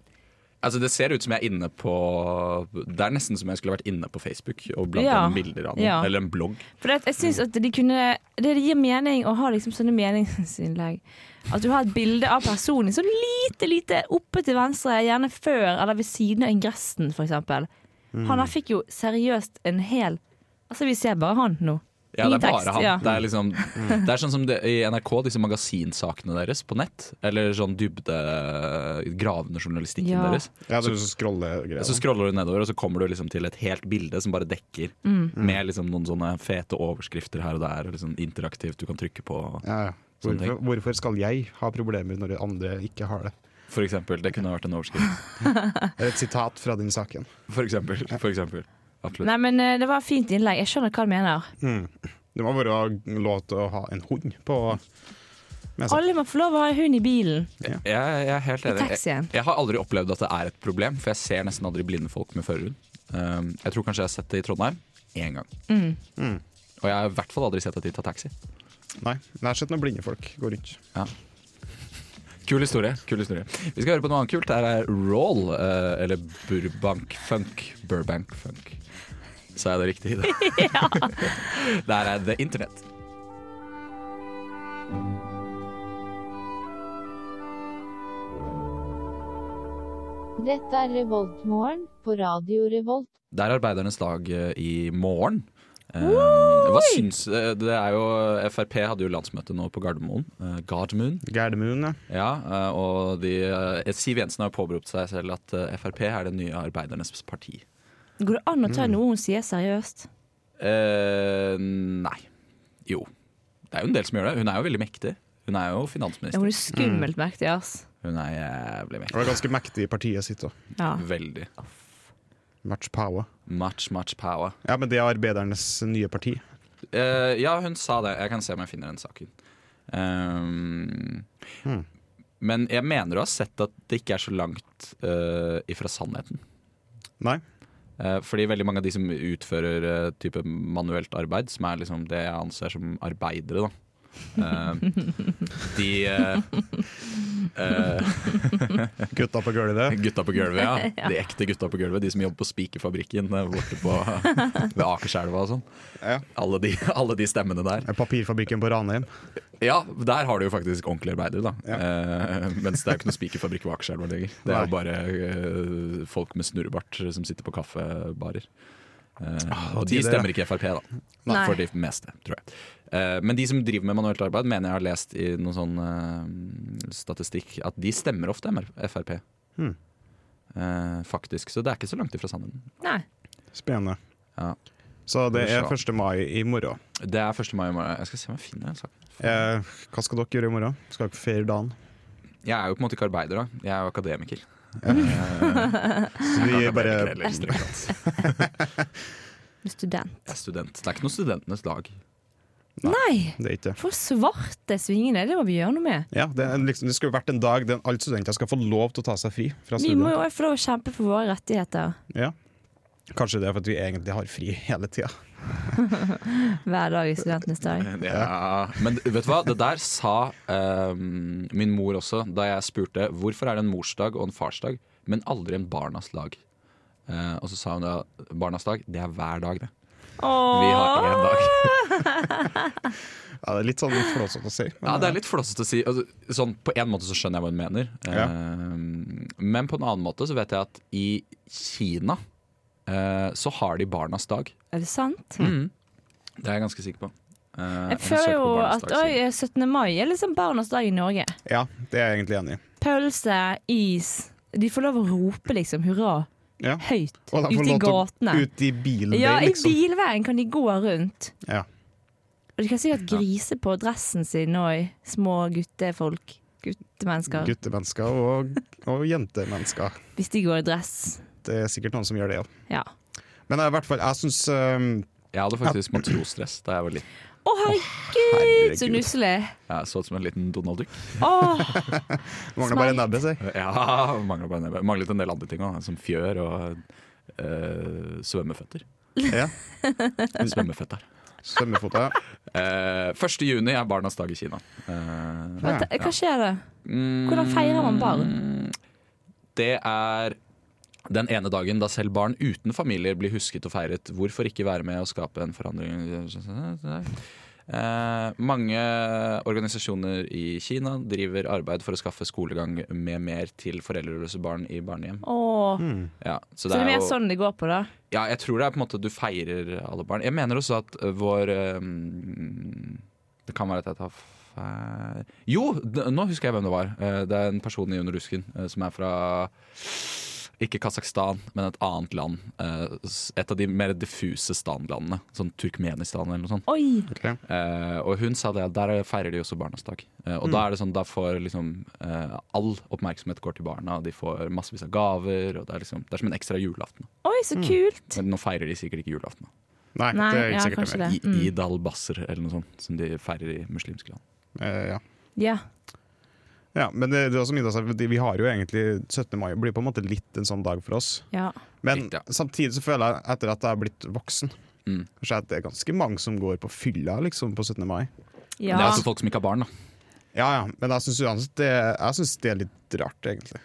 [SPEAKER 2] Altså Det ser ut som jeg er inne på Det er nesten som jeg skulle vært inne på Facebook og bladd
[SPEAKER 5] Ja.
[SPEAKER 2] inn bilder av noen.
[SPEAKER 5] Ja.
[SPEAKER 2] Eller en blogg.
[SPEAKER 5] For det, at jeg synes at de kunne Det gir mening å ha liksom sånne meningsinnlegg. At du har et bilde av personen sånn lite, lite oppe til venstre, gjerne før eller ved siden av ingressen, f.eks.
[SPEAKER 2] Mm.
[SPEAKER 5] Han her fikk jo seriøst en hel Altså, vi ser bare han nå.
[SPEAKER 2] Ja, det er
[SPEAKER 5] I tekst,
[SPEAKER 2] bare han.
[SPEAKER 5] ja.
[SPEAKER 2] Det, er liksom, det er sånn som det, i NRK, disse magasinsakene deres på nett. Eller sånn dybde gravende journalistikken
[SPEAKER 5] Ja.
[SPEAKER 2] deres.
[SPEAKER 6] Ja, du scroller greier.
[SPEAKER 2] Så scroller du nedover, og så kommer du liksom til et helt bilde som bare dekker.
[SPEAKER 5] Mm.
[SPEAKER 2] Med liksom noen sånne fete overskrifter her og der, og liksom interaktivt du kan trykke på.
[SPEAKER 6] Ja, ja.
[SPEAKER 2] Sånne
[SPEAKER 6] Hvorfor, hvorfor skal jeg ha problemer når andre ikke har det?
[SPEAKER 2] For eksempel. Det kunne vært en overskrift.
[SPEAKER 6] Eller et sitat fra den saken.
[SPEAKER 2] For eksempel. For eksempel. Absolutt.
[SPEAKER 5] Nei, men eh, det var et fint innlegg. Jeg skjønner hva du mener.
[SPEAKER 6] Det må være lov til å ha en hund på med seg.
[SPEAKER 5] Alle må få lov å ha en hund i bilen.
[SPEAKER 2] Jeg, jeg er helt
[SPEAKER 5] I
[SPEAKER 2] enig. Jeg,
[SPEAKER 5] taxien.
[SPEAKER 2] jeg har aldri opplevd at det er et problem, for jeg ser nesten aldri blinde folk med førerhund. Um, jeg tror kanskje jeg har sett det i Trondheim én gang.
[SPEAKER 5] Mm.
[SPEAKER 2] Og jeg har i hvert fall aldri sett at de tar taxi.
[SPEAKER 6] Nei, jeg har sett noen blinde folk gå rundt.
[SPEAKER 2] Kul historie. kul historie Vi skal høre på noe annet kult. Her er Roll, eh, eller Burbank Funk. Burbank Funk. Sa jeg det riktig? Da? Der er det internett.
[SPEAKER 10] Dette er Revoltmorgen på Radio Revolt.
[SPEAKER 2] Det er arbeidernes dag eh, i morgen. Eh, hva syns eh, Det er jo Frp hadde jo landsmøte nå på Gardermoen. eh, Gardermoen.
[SPEAKER 6] Gardermoen, ja.
[SPEAKER 2] Ja, eh, og de, eh, Siv Jensen har påberopt seg selv at eh, Frp er det nye arbeidernes parti.
[SPEAKER 5] Går det an å
[SPEAKER 2] Mm.
[SPEAKER 5] ta noe hun sier seriøst?
[SPEAKER 2] Eh, nei. Jo. Det er jo en del som gjør det. Hun er jo veldig mektig. Hun er jo
[SPEAKER 5] Ja,
[SPEAKER 2] finansminister.
[SPEAKER 5] hun er
[SPEAKER 2] Mm.
[SPEAKER 5] skummelt mektig, ass.
[SPEAKER 2] Hun er jævlig
[SPEAKER 6] Og det
[SPEAKER 2] mektig.
[SPEAKER 6] er ganske mektig i partiet sitt òg.
[SPEAKER 5] Ja.
[SPEAKER 2] Veldig.
[SPEAKER 6] Match power.
[SPEAKER 2] Much, much power.
[SPEAKER 6] Ja, men det er arbeidernes nye parti.
[SPEAKER 2] Eh, ja, hun sa det. Jeg kan se om jeg finner den saken. Ehm,
[SPEAKER 6] Hmm.
[SPEAKER 2] Men jeg mener å ha sett at det ikke er så langt eh, ifra sannheten.
[SPEAKER 6] Nei.
[SPEAKER 2] Eh, fordi veldig mange av de som utfører eh, type manuelt arbeid, som er liksom det jeg anser som arbeidere, da. eh, de eh, eh,
[SPEAKER 6] Gutta på gulvet.
[SPEAKER 2] Gutta på gulvet, ja. De ekte gutta på gulvet. De som jobber på Spikerfabrikken eh, borte på, <laughs> ved Akerselva og sånn.
[SPEAKER 6] Ja.
[SPEAKER 2] Alle, de, alle de stemmene der.
[SPEAKER 6] Papirfabrikken på Ranheim.
[SPEAKER 2] Ja, der har du jo faktisk ordentlige arbeidere, da.
[SPEAKER 6] Ja.
[SPEAKER 2] Eh, mens det er jo ikke noe spikerfabrikk ved Akerselva lenger. Det er
[SPEAKER 6] Nei.
[SPEAKER 2] jo bare eh, folk med snurrebart som sitter på kaffebarer. Eh, og de
[SPEAKER 6] tidligere.
[SPEAKER 2] stemmer ikke Frp, da.
[SPEAKER 5] Nei.
[SPEAKER 2] For de meste, tror jeg. Eh, men de som driver med manuelt arbeid, mener jeg har lest i noen sånn eh, statistikk at de stemmer ofte MR Frp.
[SPEAKER 6] Hmm.
[SPEAKER 2] Eh, faktisk. Så det er ikke så langt ifra sannheten.
[SPEAKER 5] Nei.
[SPEAKER 6] Spennende.
[SPEAKER 2] Ja.
[SPEAKER 6] Så det er
[SPEAKER 2] Skal vi
[SPEAKER 6] 1. mai i morgen.
[SPEAKER 2] Det er 1. mai i morgen. Jeg skal se om jeg finner en sak.
[SPEAKER 6] Eh, hva skal dere gjøre i morgen? Skal dere feire dagen?
[SPEAKER 2] Jeg er jo på en måte ikke arbeider, da. Jeg er jo akademiker.
[SPEAKER 6] Så
[SPEAKER 2] Jeg er
[SPEAKER 6] vi
[SPEAKER 2] ikke
[SPEAKER 6] bare
[SPEAKER 2] akademiker heller, strengt tatt.
[SPEAKER 5] <laughs> Du er student.
[SPEAKER 2] Jeg er student. Det er ikke noe studentenes dag.
[SPEAKER 5] Nei!
[SPEAKER 6] Det er ikke det.
[SPEAKER 5] For svarte svingene, det må vi gjøre noe med.
[SPEAKER 6] Ja, det, er liksom, det skulle vært en dag der alle studenter skal få lov til å ta seg fri fra
[SPEAKER 5] Vi må
[SPEAKER 6] studiet.
[SPEAKER 5] jo også få lov å kjempe for våre rettigheter
[SPEAKER 6] Ja. Kanskje det er for at vi egentlig har fri hele tida.
[SPEAKER 5] hver dag i studentenes dag.
[SPEAKER 2] Ja. Men vet du hva, det der sa ehm, min mor også da jeg spurte hvorfor er det en morsdag og en farsdag, men aldri en barnas dag. Eh, og så sa hun da barnas dag, det er hver dag, det. Vi har én dag.
[SPEAKER 6] <laughs> Ja, det er litt sånn flåsete å si. men-
[SPEAKER 2] Ja, Det er litt flåsete å si. Altså, sånn, på en måte så skjønner jeg hva hun mener. Ehm, men på en annen måte så vet jeg at i Kina eh, så har de barnas dag.
[SPEAKER 5] Er det sant?
[SPEAKER 6] Mm,
[SPEAKER 2] Det er jeg ganske sikker på. Eh, kan
[SPEAKER 5] Jeg
[SPEAKER 2] søke
[SPEAKER 5] føler
[SPEAKER 2] på
[SPEAKER 5] jo
[SPEAKER 2] barnas
[SPEAKER 5] at
[SPEAKER 2] dag
[SPEAKER 5] oi,
[SPEAKER 2] siden.
[SPEAKER 5] 17. mai er liksom barnas dag i Norge.
[SPEAKER 6] ja, det er jeg egentlig enig i.
[SPEAKER 5] Pølse, is. De får lov å rope liksom hurra
[SPEAKER 6] Ja.
[SPEAKER 5] høyt
[SPEAKER 6] Og de får
[SPEAKER 5] ute i
[SPEAKER 6] lov til å-
[SPEAKER 5] gatene.
[SPEAKER 6] Ut i bilen
[SPEAKER 5] Ja,
[SPEAKER 6] din,
[SPEAKER 5] i
[SPEAKER 6] liksom.
[SPEAKER 5] bilveien kan de gå rundt.
[SPEAKER 6] Ja.
[SPEAKER 5] Og de kan sikkert grise på dressen sin òg, små guttefolk. Guttemennesker.
[SPEAKER 6] Guttemennesker og, og jentemennesker.
[SPEAKER 5] Hvis de går i dress.
[SPEAKER 6] Det er sikkert noen som gjør det, ja.
[SPEAKER 5] Ja.
[SPEAKER 6] Men eh, i hvert fall, jeg syns eh,
[SPEAKER 2] Jeg hadde faktisk matrosstress da jeg var liten.
[SPEAKER 5] Å, herregud, så
[SPEAKER 6] herregud.
[SPEAKER 5] nusselig!
[SPEAKER 2] Jeg så ut som en liten Donald Duck.
[SPEAKER 5] Åh,
[SPEAKER 6] Mangler bare nebbet, sier
[SPEAKER 2] <laughs> Ja, manglet, bare nebbet. manglet en del andre ting òg, som fjør og eh,
[SPEAKER 5] <laughs>
[SPEAKER 2] svømmeføtter.
[SPEAKER 6] jeg. Ja.
[SPEAKER 2] Svømmeføtter.
[SPEAKER 6] Svømmefota.
[SPEAKER 2] Eh, 1. juni er barnas dag i Kina. Eh,
[SPEAKER 5] hva, hva skjer da? Hvordan feirer man barn?
[SPEAKER 2] Mm. det er den ene dagen da selv barn uten familier blir husket og feiret. Hvorfor ikke være med og skape en forandring? Eh, mange organisasjoner i Kina driver arbeid for å skaffe skolegang med mer til foreldreløse barn i barnehjem.
[SPEAKER 5] Åh,
[SPEAKER 6] Mm.
[SPEAKER 2] Ja, så
[SPEAKER 5] Så det er mer
[SPEAKER 2] jo-
[SPEAKER 5] sånn det går på, da?
[SPEAKER 2] Ja, jeg tror det er på en måte at du feirer alle barn. Jeg mener også at eh, vår eh, mm, Det kan være at jeg tar feil Jo, d- nå husker jeg hvem det var. Eh, Det er en person i Under rusken eh, som er fra Ikke Kasakhstan, men et annet land. eh, s- Et av de mer diffuse stanlandene. Sånn Turkmenistan eller noe sånt.
[SPEAKER 5] Oi!
[SPEAKER 6] Ok.
[SPEAKER 2] Eh, og hun sa det at der feirer de også barnas dag. Eh, og da er det sånn, da får liksom eh, all oppmerksomhet går til barna, og de får massevis av gaver. Og det er liksom, det er som en ekstra julaften.
[SPEAKER 5] Oi, så
[SPEAKER 2] Mm.
[SPEAKER 5] kult!
[SPEAKER 2] Men nå feirer de sikkert ikke julaften. da.
[SPEAKER 6] Nei,
[SPEAKER 5] Nei,
[SPEAKER 6] det er ikke
[SPEAKER 5] ja,
[SPEAKER 6] sikkert
[SPEAKER 5] kanskje
[SPEAKER 6] det.
[SPEAKER 5] det.
[SPEAKER 2] I,
[SPEAKER 5] Mm.
[SPEAKER 2] Id al-Basr eller noe sånt, som de feirer i muslimske land.
[SPEAKER 6] Eh, ja.
[SPEAKER 5] Ja.
[SPEAKER 6] ja, men det, det er også mye, altså, de- vi har jo egentlig 17. mai blir på en måte litt en sånn dag for oss.
[SPEAKER 5] ja.
[SPEAKER 6] Men
[SPEAKER 2] Litt, ja.
[SPEAKER 6] samtidig så føler jeg etter at jeg er blitt voksen,
[SPEAKER 2] Mm.
[SPEAKER 6] så er det ganske mange som går på fylla liksom, på 17. mai.
[SPEAKER 2] Men Det
[SPEAKER 5] ja.
[SPEAKER 2] er altså folk som ikke har barn, da.
[SPEAKER 6] Ja, ja, men jeg syns uansett det, jeg synes det er litt rart, egentlig.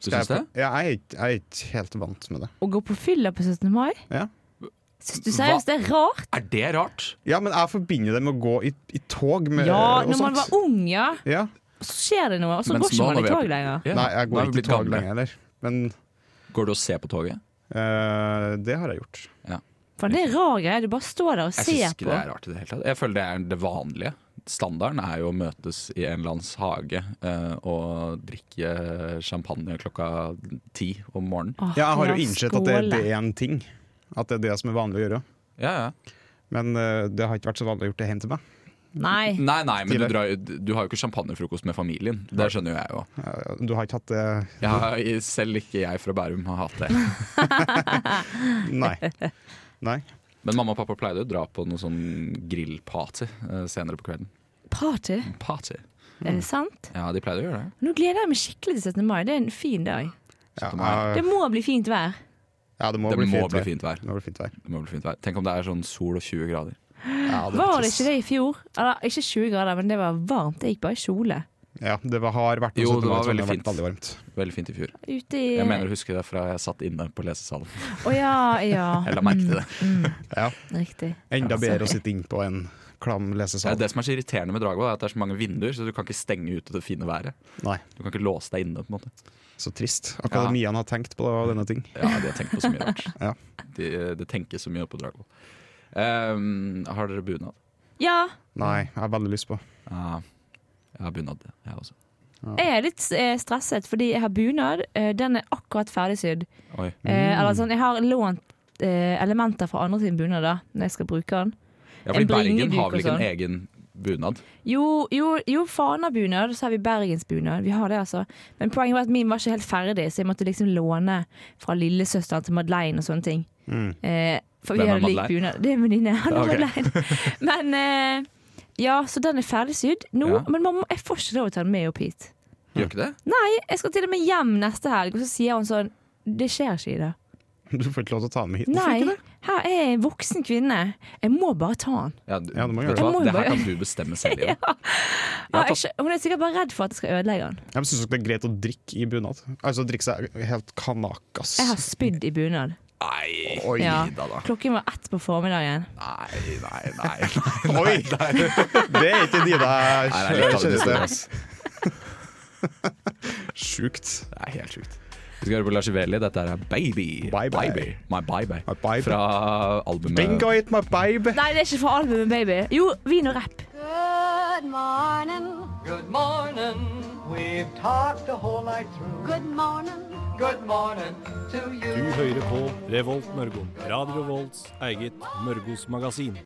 [SPEAKER 2] Du syns det?
[SPEAKER 6] Ja, jeg, er ikke- jeg er ikke helt vant med det.
[SPEAKER 5] Å gå på fylla på 17. mai?
[SPEAKER 6] Ja.
[SPEAKER 5] Syns du seriøst det er rart?
[SPEAKER 2] Er det rart?
[SPEAKER 6] Ja, men jeg forbinder det med å gå i, i tog med,
[SPEAKER 5] Ja,
[SPEAKER 6] og
[SPEAKER 5] når man var ung, ja.
[SPEAKER 6] Ja.
[SPEAKER 5] Så skjer det noe, og så
[SPEAKER 2] Mens
[SPEAKER 5] går ikke
[SPEAKER 2] nå
[SPEAKER 5] man
[SPEAKER 2] når
[SPEAKER 5] i
[SPEAKER 2] vi er på-
[SPEAKER 5] tog lenger.
[SPEAKER 2] Ja,
[SPEAKER 6] Nei, jeg
[SPEAKER 2] nå
[SPEAKER 6] går
[SPEAKER 2] er vi
[SPEAKER 6] ikke i
[SPEAKER 2] blitt
[SPEAKER 6] tog
[SPEAKER 2] gamle.
[SPEAKER 6] lenger heller. Men
[SPEAKER 2] Går du og ser på toget?
[SPEAKER 6] eh, det har jeg gjort.
[SPEAKER 5] For det er en rar greie. Du bare står der og
[SPEAKER 2] Jeg syns
[SPEAKER 5] ser
[SPEAKER 2] ikke det
[SPEAKER 5] på.
[SPEAKER 2] er rart i det hele tatt. Jeg føler det er det vanlige. Standarden er jo å møtes i en eller annens hage eh, og drikke champagne klokka ti om morgenen.
[SPEAKER 5] Åh,
[SPEAKER 6] Ja, jeg har
[SPEAKER 5] ja,
[SPEAKER 6] jo innsett at det,
[SPEAKER 5] skåle.
[SPEAKER 6] det er en ting. At det er det som er vanlig å gjøre.
[SPEAKER 2] Ja, ja.
[SPEAKER 6] Men eh, det har ikke vært så vanlig å gjøre det hjem til meg.
[SPEAKER 5] Nei.
[SPEAKER 2] Nei, nei, men du,
[SPEAKER 6] Tidligere.
[SPEAKER 2] drar, jo- du har jo ikke champagnefrokost med familien. Det skjønner jo jeg jo.
[SPEAKER 6] Eh, Du har ikke hatt det
[SPEAKER 2] Jeg har, selv ikke jeg fra Bærum har hatt det.
[SPEAKER 6] Nei.
[SPEAKER 5] <laughs>
[SPEAKER 6] Nei.
[SPEAKER 2] Men mamma og pappa pleide å dra på noe sånn grillparty eh, senere på kvelden.
[SPEAKER 5] Party,
[SPEAKER 2] Party? Mm.
[SPEAKER 5] er det sant?
[SPEAKER 2] Ja, de pleide å gjøre det.
[SPEAKER 5] Nå gleder jeg meg skikkelig til 17. mai. Det er en fin dag.
[SPEAKER 6] Ja,
[SPEAKER 5] Det
[SPEAKER 6] jeg-
[SPEAKER 5] må bli fint vær.
[SPEAKER 6] ja, det må,
[SPEAKER 2] Det
[SPEAKER 6] bli,
[SPEAKER 2] må
[SPEAKER 6] fint
[SPEAKER 2] bli
[SPEAKER 6] vær.
[SPEAKER 2] fint vær.
[SPEAKER 6] Det må bli fint vær.
[SPEAKER 2] Det må bli fint vær. Tenk om det er sånn sol og 20 grader.
[SPEAKER 6] Ja, det,
[SPEAKER 5] Var det ikke det i fjor? Eller ikke 20 grader, men det var varmt. Jeg gikk bare i kjole.
[SPEAKER 6] Ja, det var, har vært noe
[SPEAKER 2] Jo,
[SPEAKER 6] sånt
[SPEAKER 2] det
[SPEAKER 6] nå,
[SPEAKER 2] var
[SPEAKER 6] som
[SPEAKER 2] veldig
[SPEAKER 6] har vært
[SPEAKER 2] fint.
[SPEAKER 6] veldig varmt.
[SPEAKER 2] Veldig fint i fjor.
[SPEAKER 5] Ute i
[SPEAKER 2] Jeg mener å huske det fra jeg satt inne på <laughs> lesesalen.
[SPEAKER 5] Å ja, ja.
[SPEAKER 2] <laughs>
[SPEAKER 5] Mm,
[SPEAKER 2] Jeg la merke til det. <laughs>
[SPEAKER 6] Ja.
[SPEAKER 5] Riktig.
[SPEAKER 6] Enda
[SPEAKER 5] Ja,
[SPEAKER 6] bedre å
[SPEAKER 5] sorry.
[SPEAKER 6] sitte innpå en klam
[SPEAKER 2] Det,
[SPEAKER 6] lesesal.
[SPEAKER 2] er det som er så irriterende med Dragvoll, er at det er så mange vinduer, så du kan ikke stenge ute det fine været.
[SPEAKER 6] Nei,
[SPEAKER 2] Du kan ikke låse deg inne, på en måte.
[SPEAKER 6] så trist. Akademiene har tenkt på det, denne ting.
[SPEAKER 2] Ja, de har tenkt på så mye rart. <laughs>
[SPEAKER 6] Ja.
[SPEAKER 2] De, det tenkes så mye på Dragvoll. Ehm, har dere bunad?
[SPEAKER 5] Ja,
[SPEAKER 6] Nei, jeg har veldig lyst på. <laughs>
[SPEAKER 2] Ja, jeg har bunad, jeg også.
[SPEAKER 5] jeg er litt eh, stresset fordi jeg har bunad. Eh, Den er akkurat ferdigsydd.
[SPEAKER 2] Oi.
[SPEAKER 5] Eh, Eller sånn, jeg har lånt eh, elementer fra andre sin bunad da, når jeg skal bruke den.
[SPEAKER 2] Ja, fordi
[SPEAKER 5] En
[SPEAKER 2] Bergen
[SPEAKER 5] bringeduk
[SPEAKER 2] har vel ikke
[SPEAKER 5] og
[SPEAKER 2] en
[SPEAKER 5] sånn.
[SPEAKER 2] egen bunad?
[SPEAKER 5] Jo, jo, jo fanabunad, så har vi bergensbunad. Vi har det, altså. Men poenget var at min var ikke helt ferdig, så jeg måtte liksom låne fra lillesøsteren til Madeleine og sånne ting. Eh, for
[SPEAKER 2] Mm. Hvem
[SPEAKER 5] vi
[SPEAKER 2] er
[SPEAKER 5] hadde lik
[SPEAKER 2] Madeleine?
[SPEAKER 5] bunad. Det er en venninne. Hanne
[SPEAKER 2] Ok. <laughs>
[SPEAKER 5] Madeleine. Men eh, ja, så den er ferdigsydd nå.
[SPEAKER 2] Ja.
[SPEAKER 5] Men mamma, jeg får ikke lov å ta den med opp hit.
[SPEAKER 2] Gjør ikke det?
[SPEAKER 5] Nei, jeg skal til og med hjem neste helg, og så sier hun sånn Det skjer ikke, Ida.
[SPEAKER 6] Du får ikke lov til å ta den med hit.
[SPEAKER 5] Nei, her er jeg en voksen kvinne. Jeg må bare ta den.
[SPEAKER 2] Ja, du,
[SPEAKER 6] Ja, du må
[SPEAKER 2] vet
[SPEAKER 6] gjøre
[SPEAKER 2] du hva?
[SPEAKER 5] det. Jeg må
[SPEAKER 2] Det her
[SPEAKER 5] bare-
[SPEAKER 2] kan du bestemme
[SPEAKER 5] <laughs>
[SPEAKER 2] selv.
[SPEAKER 6] <laughs>
[SPEAKER 2] Ida.
[SPEAKER 5] Ah,
[SPEAKER 2] Jeg
[SPEAKER 5] jeg,
[SPEAKER 2] har tatt,
[SPEAKER 5] skjø- hun er sikkert bare redd for at jeg skal ødelegge den.
[SPEAKER 6] Jeg syns det er greit å drikke i bunad. Altså drikke seg helt kanakas.
[SPEAKER 5] Jeg har spydd i bunad.
[SPEAKER 2] nei,
[SPEAKER 6] Oi.
[SPEAKER 5] Ja.
[SPEAKER 2] Ida da.
[SPEAKER 5] Klokken var ett på formiddagen.
[SPEAKER 2] Nei, nei, nei. nei.
[SPEAKER 6] Oi! Det er ikke de der
[SPEAKER 2] Nei, det er litt av det
[SPEAKER 6] kjæreste.
[SPEAKER 2] ass.
[SPEAKER 6] Sjukt.
[SPEAKER 2] Det er helt sjukt. Vi skal høre på Lars Veli. Dette er Baby.
[SPEAKER 6] Bye bye.
[SPEAKER 2] My Baby.
[SPEAKER 6] My baby.
[SPEAKER 2] Fra albumet
[SPEAKER 6] Bingo it, my baby!
[SPEAKER 5] Nei, det er ikke fra albumet Baby. Jo, vin og rapp.
[SPEAKER 7] Good morning.
[SPEAKER 8] Good morning. We've talked the whole night through.
[SPEAKER 7] Good morning.
[SPEAKER 8] Good morning to you.
[SPEAKER 9] Du hører på Revolt Mørgo. Radio Revolts eget Mørgos magasin.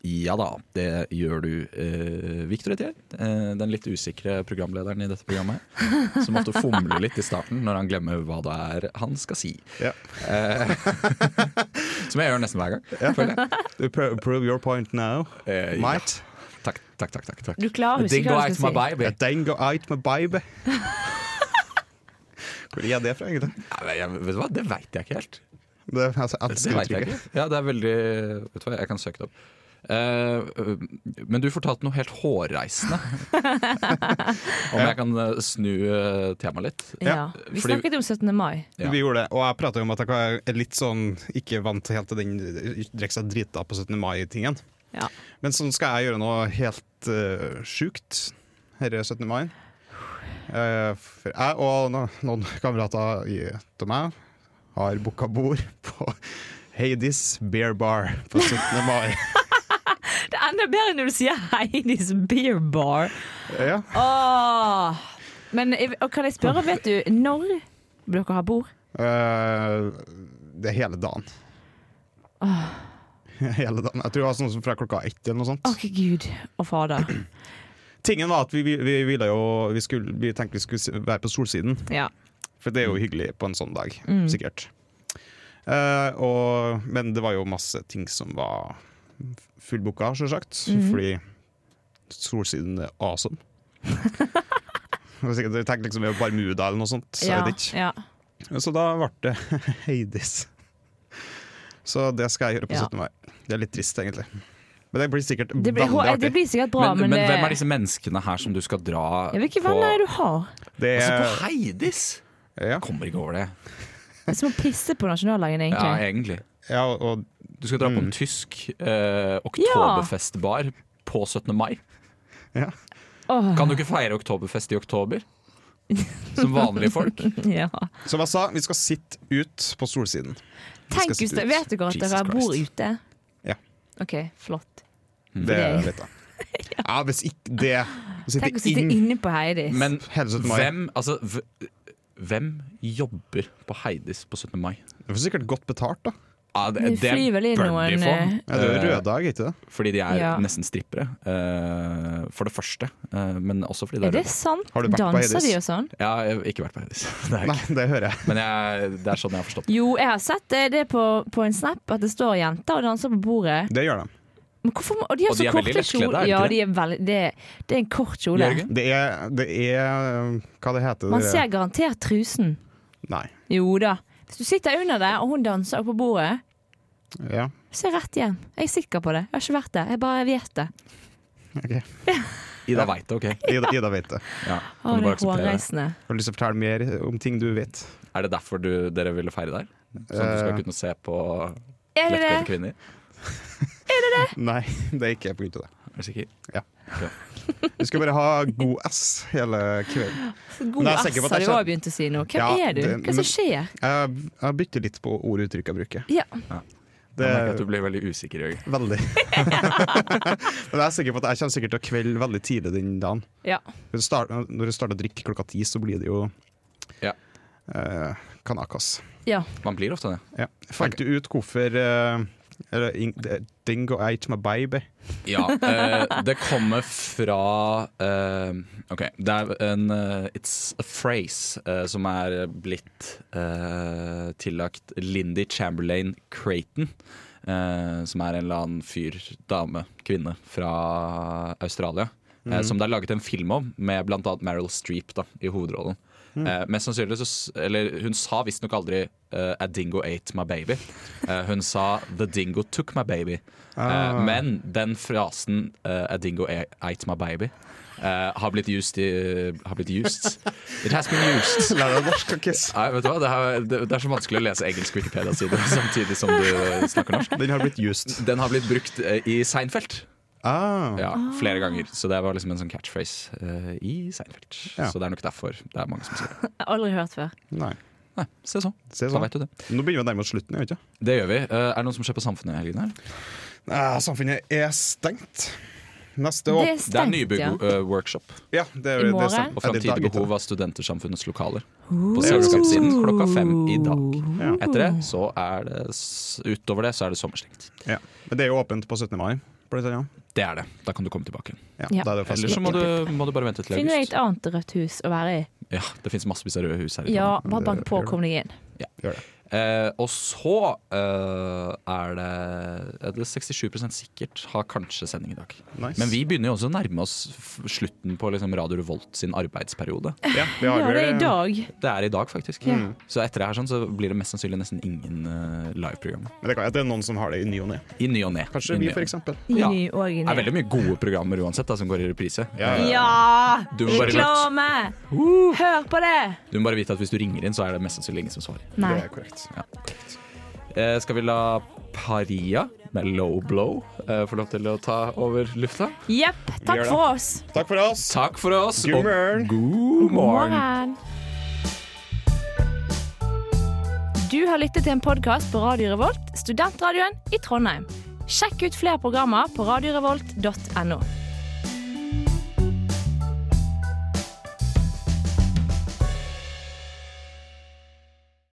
[SPEAKER 2] Ja da, det gjør du, eh, Victor Etier. Eh, den litt usikre programlederen i dette programmet. <laughs> Som ofte fomler litt i starten når han glemmer hva det er han skal si.
[SPEAKER 6] Ja.
[SPEAKER 2] Eh, <laughs> som jeg gjør nesten hver gang. Føler jeg.
[SPEAKER 6] You pro- Prove your point now.
[SPEAKER 2] Eh, ja.
[SPEAKER 6] Mate.
[SPEAKER 2] Takk, takk, takk. takk, takk.
[SPEAKER 5] Du klarer å huske
[SPEAKER 2] Dingo
[SPEAKER 5] hva du
[SPEAKER 2] ate my
[SPEAKER 5] skal si.
[SPEAKER 2] baby.
[SPEAKER 6] Dingo it, my baby. Hvor er det fra, egentlig?
[SPEAKER 2] Nei, jeg, vet du hva, det veit jeg ikke helt.
[SPEAKER 6] Det, altså, jeg
[SPEAKER 2] Det
[SPEAKER 6] elsker
[SPEAKER 2] vet jeg
[SPEAKER 6] uttrykket.
[SPEAKER 2] ikke. Ja, det er veldig Vet du hva, jeg kan søke det opp. Eh, øh, men du fortalte noe helt hårreisende.
[SPEAKER 5] <laughs>
[SPEAKER 2] Om jeg kan eh, snu eh, temaet litt.
[SPEAKER 5] Ja. Vi
[SPEAKER 2] Fordi-
[SPEAKER 5] snakket om 17. mai.
[SPEAKER 2] Ja.
[SPEAKER 6] Vi gjorde det, og jeg prata om at jeg er litt sånn ikke vant til helt til den drikke seg drita på 17. mai-tingen.
[SPEAKER 5] Ja.
[SPEAKER 6] Men sånn skal jeg gjøre noe helt uh, sjukt her er 17. mai. Eh, for jeg og no, noen kamerater i- til meg har booka bord <laughs> på Hades Beer Bar på 17. mai.
[SPEAKER 5] Det er enda bedre når du sier Heidis Beer Bar.
[SPEAKER 6] ja.
[SPEAKER 5] Åh. Men jeg- og kan jeg spørre, vet du når dere har bord?
[SPEAKER 6] Eh, det er hele dagen. <laughs> Hele dagen. Jeg tror det var sånn som fra klokka ett eller noe sånt.
[SPEAKER 5] Å, gud og fader.
[SPEAKER 6] Tingen var at vi, vi, vi ville jo vi, skulle, vi tenkte vi skulle s- være på solsiden,
[SPEAKER 5] Ja.
[SPEAKER 6] for det er jo hyggelig på en sånn dag,
[SPEAKER 5] Mm.
[SPEAKER 6] sikkert. Eh, og, men det var jo masse ting som var fullbooka, sjølsagt,
[SPEAKER 5] Mhm.
[SPEAKER 6] fordi solsiden er
[SPEAKER 5] <laughs>
[SPEAKER 6] awesome. Det var sikkert- Jeg tenkte liksom vi var Barmuda eller noe sånt. Så jeg
[SPEAKER 5] ja,
[SPEAKER 6] vet ikke.
[SPEAKER 5] ja.
[SPEAKER 6] Så da ble det <laughs> Hades. Så det skal jeg gjøre på
[SPEAKER 5] Ja.
[SPEAKER 6] 17. mai. Det er litt trist, egentlig. Men det blir sikkert
[SPEAKER 5] Det, blir,
[SPEAKER 6] veldig
[SPEAKER 5] det
[SPEAKER 6] artig.
[SPEAKER 5] blir sikkert bra,
[SPEAKER 2] Men,
[SPEAKER 5] men,
[SPEAKER 2] men,
[SPEAKER 5] det
[SPEAKER 2] hvem er disse menneskene her som du skal dra
[SPEAKER 5] ja, Hvilke
[SPEAKER 2] på
[SPEAKER 5] venner er det du har?
[SPEAKER 6] Det
[SPEAKER 2] Altså,
[SPEAKER 6] er,
[SPEAKER 2] på Heidis?
[SPEAKER 6] ja,
[SPEAKER 2] Jeg kommer ikke over det.
[SPEAKER 5] Det er som å pisse på nasjonaldagen,
[SPEAKER 2] Ja,
[SPEAKER 5] egentlig.
[SPEAKER 2] egentlig.
[SPEAKER 6] ja, og
[SPEAKER 2] Du skal dra på en tysk eh, oktoberfestbar på 17. mai.
[SPEAKER 5] Åh,
[SPEAKER 2] Kan du ikke feire oktoberfest i
[SPEAKER 5] <laughs>
[SPEAKER 2] oktober? Som vanlige folk.
[SPEAKER 5] ja.
[SPEAKER 6] som jeg sa, vi skal sitte ut på solsiden.
[SPEAKER 5] Tenk,
[SPEAKER 6] sitte
[SPEAKER 5] hvis det-
[SPEAKER 6] ut.
[SPEAKER 5] vet dere at
[SPEAKER 2] Jesus
[SPEAKER 5] dere bor
[SPEAKER 2] Christ.
[SPEAKER 5] ute?
[SPEAKER 6] Ja.
[SPEAKER 5] OK, flott.
[SPEAKER 2] Mm.
[SPEAKER 6] Det
[SPEAKER 5] Ok.
[SPEAKER 6] vet
[SPEAKER 5] <laughs>
[SPEAKER 6] jeg. Ja, hvis ikke det Å
[SPEAKER 5] Tenk å
[SPEAKER 6] sitte
[SPEAKER 5] sitte
[SPEAKER 6] inn
[SPEAKER 5] inne på Heidis.
[SPEAKER 2] Men
[SPEAKER 6] hele 17. mai.
[SPEAKER 2] hvem, altså, v hvem jobber på Heidis på 17. mai?
[SPEAKER 6] Du får sikkert godt betalt, da.
[SPEAKER 2] Ja,
[SPEAKER 5] Vi flyr vel i noen, eh,
[SPEAKER 6] Ja, det er jo røde dag, ikke det?
[SPEAKER 2] Fordi de er
[SPEAKER 5] Ja.
[SPEAKER 2] nesten strippere, eh, for det første. eh, men også fordi det
[SPEAKER 5] er
[SPEAKER 2] er
[SPEAKER 5] det
[SPEAKER 2] røde.
[SPEAKER 5] sant?
[SPEAKER 6] Har du vært på
[SPEAKER 5] Danser de og
[SPEAKER 6] Heidis?
[SPEAKER 5] sånn?
[SPEAKER 2] Ja, jeg har ikke vært på Heidis. <laughs> Det har jeg
[SPEAKER 6] Nei,
[SPEAKER 2] ikke.
[SPEAKER 6] det hører jeg.
[SPEAKER 2] Men jeg, det er sånn jeg har forstått det.
[SPEAKER 5] Jo, jeg har sett det, det er på, på en snap at det står jenter og danser på bordet.
[SPEAKER 6] Det gjør de.
[SPEAKER 5] Men hvorfor, må- og de har
[SPEAKER 2] Og de
[SPEAKER 5] så
[SPEAKER 2] er veldig
[SPEAKER 5] korte
[SPEAKER 2] lettkledde, er
[SPEAKER 5] kjoler.
[SPEAKER 2] det
[SPEAKER 5] Ja,
[SPEAKER 2] ikke det?
[SPEAKER 5] de er veldig, det, det er en kort kjole.
[SPEAKER 2] Jørgen?
[SPEAKER 6] Det er, det er eh, Hva det heter
[SPEAKER 5] Man
[SPEAKER 6] det?
[SPEAKER 5] ser garantert trusen.
[SPEAKER 6] Nei.
[SPEAKER 5] Jo da. Hvis du sitter under der, og hun danser på bordet,
[SPEAKER 6] Ja.
[SPEAKER 5] se rett hjem. Jeg er sikker på det. Jeg har ikke vært der. Jeg bare vet det.
[SPEAKER 6] ok.
[SPEAKER 2] Ida veit det, OK?
[SPEAKER 6] Ida, Ida vet det.
[SPEAKER 2] Ja,
[SPEAKER 5] Å,
[SPEAKER 2] kan du bare
[SPEAKER 5] det er
[SPEAKER 2] akseptere det?
[SPEAKER 5] hårreisende.
[SPEAKER 6] Har du lyst til å fortelle mer om ting du vet?
[SPEAKER 2] Er det derfor du, dere ville feire der? Sånn at du
[SPEAKER 6] Eh.
[SPEAKER 2] skal kunne se på
[SPEAKER 5] Er det
[SPEAKER 2] lettkledde
[SPEAKER 5] det?
[SPEAKER 2] kvinner?
[SPEAKER 6] Nei, det er ikke på grunn av det.
[SPEAKER 2] Er du sikker?
[SPEAKER 6] Vi skal bare ha god S hele kvelden. Men
[SPEAKER 5] God
[SPEAKER 6] jeg er
[SPEAKER 5] S
[SPEAKER 6] sikker på at
[SPEAKER 5] har
[SPEAKER 6] det
[SPEAKER 5] du
[SPEAKER 6] er
[SPEAKER 5] òg
[SPEAKER 6] sånn-
[SPEAKER 5] begynt å si nå. Hvem
[SPEAKER 6] Ja,
[SPEAKER 5] er du?
[SPEAKER 6] det-
[SPEAKER 5] Hva
[SPEAKER 6] men-
[SPEAKER 5] som skjer?
[SPEAKER 6] Jeg, jeg bytter litt på ord og uttrykk jeg bruker.
[SPEAKER 5] Ja.
[SPEAKER 6] Det
[SPEAKER 2] Jeg merker at
[SPEAKER 6] er
[SPEAKER 2] du blir veldig usikker, Jørgen.
[SPEAKER 6] veldig. <laughs> Men jeg er sikker på at jeg kommer sikkert til å kvelde veldig tidlig den dagen.
[SPEAKER 5] ja.
[SPEAKER 6] Når du start- når du starter å drikke klokka ti, så blir det jo
[SPEAKER 2] Ja.
[SPEAKER 6] eh, kanakas.
[SPEAKER 5] ja.
[SPEAKER 2] Man blir ofte det.
[SPEAKER 6] Ja. Fant du ut hvorfor eh, eller, in- det- Dingo ate my <laughs> baby.
[SPEAKER 2] Ja, eh, det kommer fra eh, Ok, det er en eh, It's a phrase eh, som er blitt eh, tillagt Lindy Chamberlain Creighton. eh, som er en eller annen fyr, dame, kvinne fra Australia. eh, som det er laget en film om, med bl.a. Meryl Streep da, i hovedrollen. Eh, mest sannsynlig så s- Eller hun sa visstnok aldri eh, 'A dingo ate my baby'. Eh, hun sa 'The dingo took my baby'. Eh, men den frasen eh, 'A dingo a- ate my baby' eh, har blitt used i eh, Har blitt used. It has been used.
[SPEAKER 6] Lær deg norsk, Akis.
[SPEAKER 2] Nei, vet du hva? Det, er, det, det er så vanskelig å lese engelsk Wikipedia-side samtidig som du eh, snakker norsk.
[SPEAKER 6] Den har blitt used.
[SPEAKER 2] Den har blitt brukt eh, i Seinfeld
[SPEAKER 6] Ah,
[SPEAKER 2] ja, flere ganger. Så det var liksom en sånn catchphrase eh, i Seinfeld.
[SPEAKER 6] Ja.
[SPEAKER 2] Så det er nok derfor det er mange som sier det.
[SPEAKER 5] Jeg har aldri hørt før.
[SPEAKER 6] Nei.
[SPEAKER 2] Nei, se sånn.
[SPEAKER 6] Se
[SPEAKER 2] Da
[SPEAKER 6] sånn.
[SPEAKER 2] vet du det.
[SPEAKER 6] Nå begynner vi å nærme oss slutten. Jeg vet ikke.
[SPEAKER 2] Det gjør vi. Eh, er det noen som ser på Samfunnet i helgen her?
[SPEAKER 6] Eh, samfunnet er stengt. Neste
[SPEAKER 5] Det
[SPEAKER 6] år
[SPEAKER 5] er
[SPEAKER 2] Det er
[SPEAKER 5] stengt, ja.
[SPEAKER 2] nybygg-workshop
[SPEAKER 6] Ja, det er,
[SPEAKER 5] I
[SPEAKER 6] det er
[SPEAKER 5] morgen?
[SPEAKER 6] sant.
[SPEAKER 2] og eh,
[SPEAKER 6] Ja, det er
[SPEAKER 2] framtidig
[SPEAKER 6] dager til.
[SPEAKER 2] behov av Studentersamfunnets lokaler. På selskapssiden klokka fem i dag. Etter det så er det s- Utover det så er det sommerstengt.
[SPEAKER 6] Ja. Men det er jo åpent på 17. mai. blant annet.
[SPEAKER 2] Det er det. Da kan du komme tilbake.
[SPEAKER 6] Ja,
[SPEAKER 5] Ja.
[SPEAKER 6] Da er det fest.
[SPEAKER 2] Eller så må du, må du bare vente til
[SPEAKER 5] Finner du et
[SPEAKER 2] august.
[SPEAKER 5] annet rødt hus å være i?
[SPEAKER 2] Ja, det fins massevis av røde hus her. i
[SPEAKER 5] Ja,
[SPEAKER 2] landet.
[SPEAKER 5] bare bank på og kom deg inn.
[SPEAKER 6] Gjør det.
[SPEAKER 2] Eh, og så eh, er det, er det 67 sikkert har kanskje sending i dag.
[SPEAKER 6] Nice.
[SPEAKER 2] Men vi begynner jo også å nærme oss f- slutten på liksom Radio Revolt sin arbeidsperiode.
[SPEAKER 6] ja, vi
[SPEAKER 5] Ja,
[SPEAKER 6] har
[SPEAKER 5] det er
[SPEAKER 6] vel-
[SPEAKER 5] i dag.
[SPEAKER 2] Det er i dag, faktisk.
[SPEAKER 5] Ja.
[SPEAKER 2] Så etter det her sånn, så blir det mest sannsynlig nesten ingen eh, liveprogram.
[SPEAKER 6] Men det kan at det er noen som har det i ny og ne.
[SPEAKER 2] I ny og ne.
[SPEAKER 6] Kanskje
[SPEAKER 2] I
[SPEAKER 6] vi,
[SPEAKER 2] ny og
[SPEAKER 6] for
[SPEAKER 2] ne.
[SPEAKER 6] eksempel.
[SPEAKER 5] I
[SPEAKER 2] Ja.
[SPEAKER 5] ny og i
[SPEAKER 2] Det er
[SPEAKER 5] ny.
[SPEAKER 2] veldig mye gode programmer uansett da, som går i reprise.
[SPEAKER 6] Ja,
[SPEAKER 5] Ja!
[SPEAKER 2] Du må bare vite-
[SPEAKER 5] Reklame! Hør på det!
[SPEAKER 2] Du må bare vite at hvis du ringer inn, så er det mest sannsynlig ingen som svarer.
[SPEAKER 5] Nei.
[SPEAKER 6] Det er korrekt.
[SPEAKER 2] Eh, skal vi la Paria med low blow eh, få lov til å ta over lufta?
[SPEAKER 5] Jepp. Takk
[SPEAKER 6] Gjør det.
[SPEAKER 5] for oss.
[SPEAKER 6] Takk for oss.
[SPEAKER 2] Takk for oss,
[SPEAKER 6] God morgen.
[SPEAKER 2] og god morgen.
[SPEAKER 5] Morgen. Du har lyttet til en podkast på Radio Revolt, studentradioen i Trondheim. Sjekk ut flere programmer på radiorevolt.no.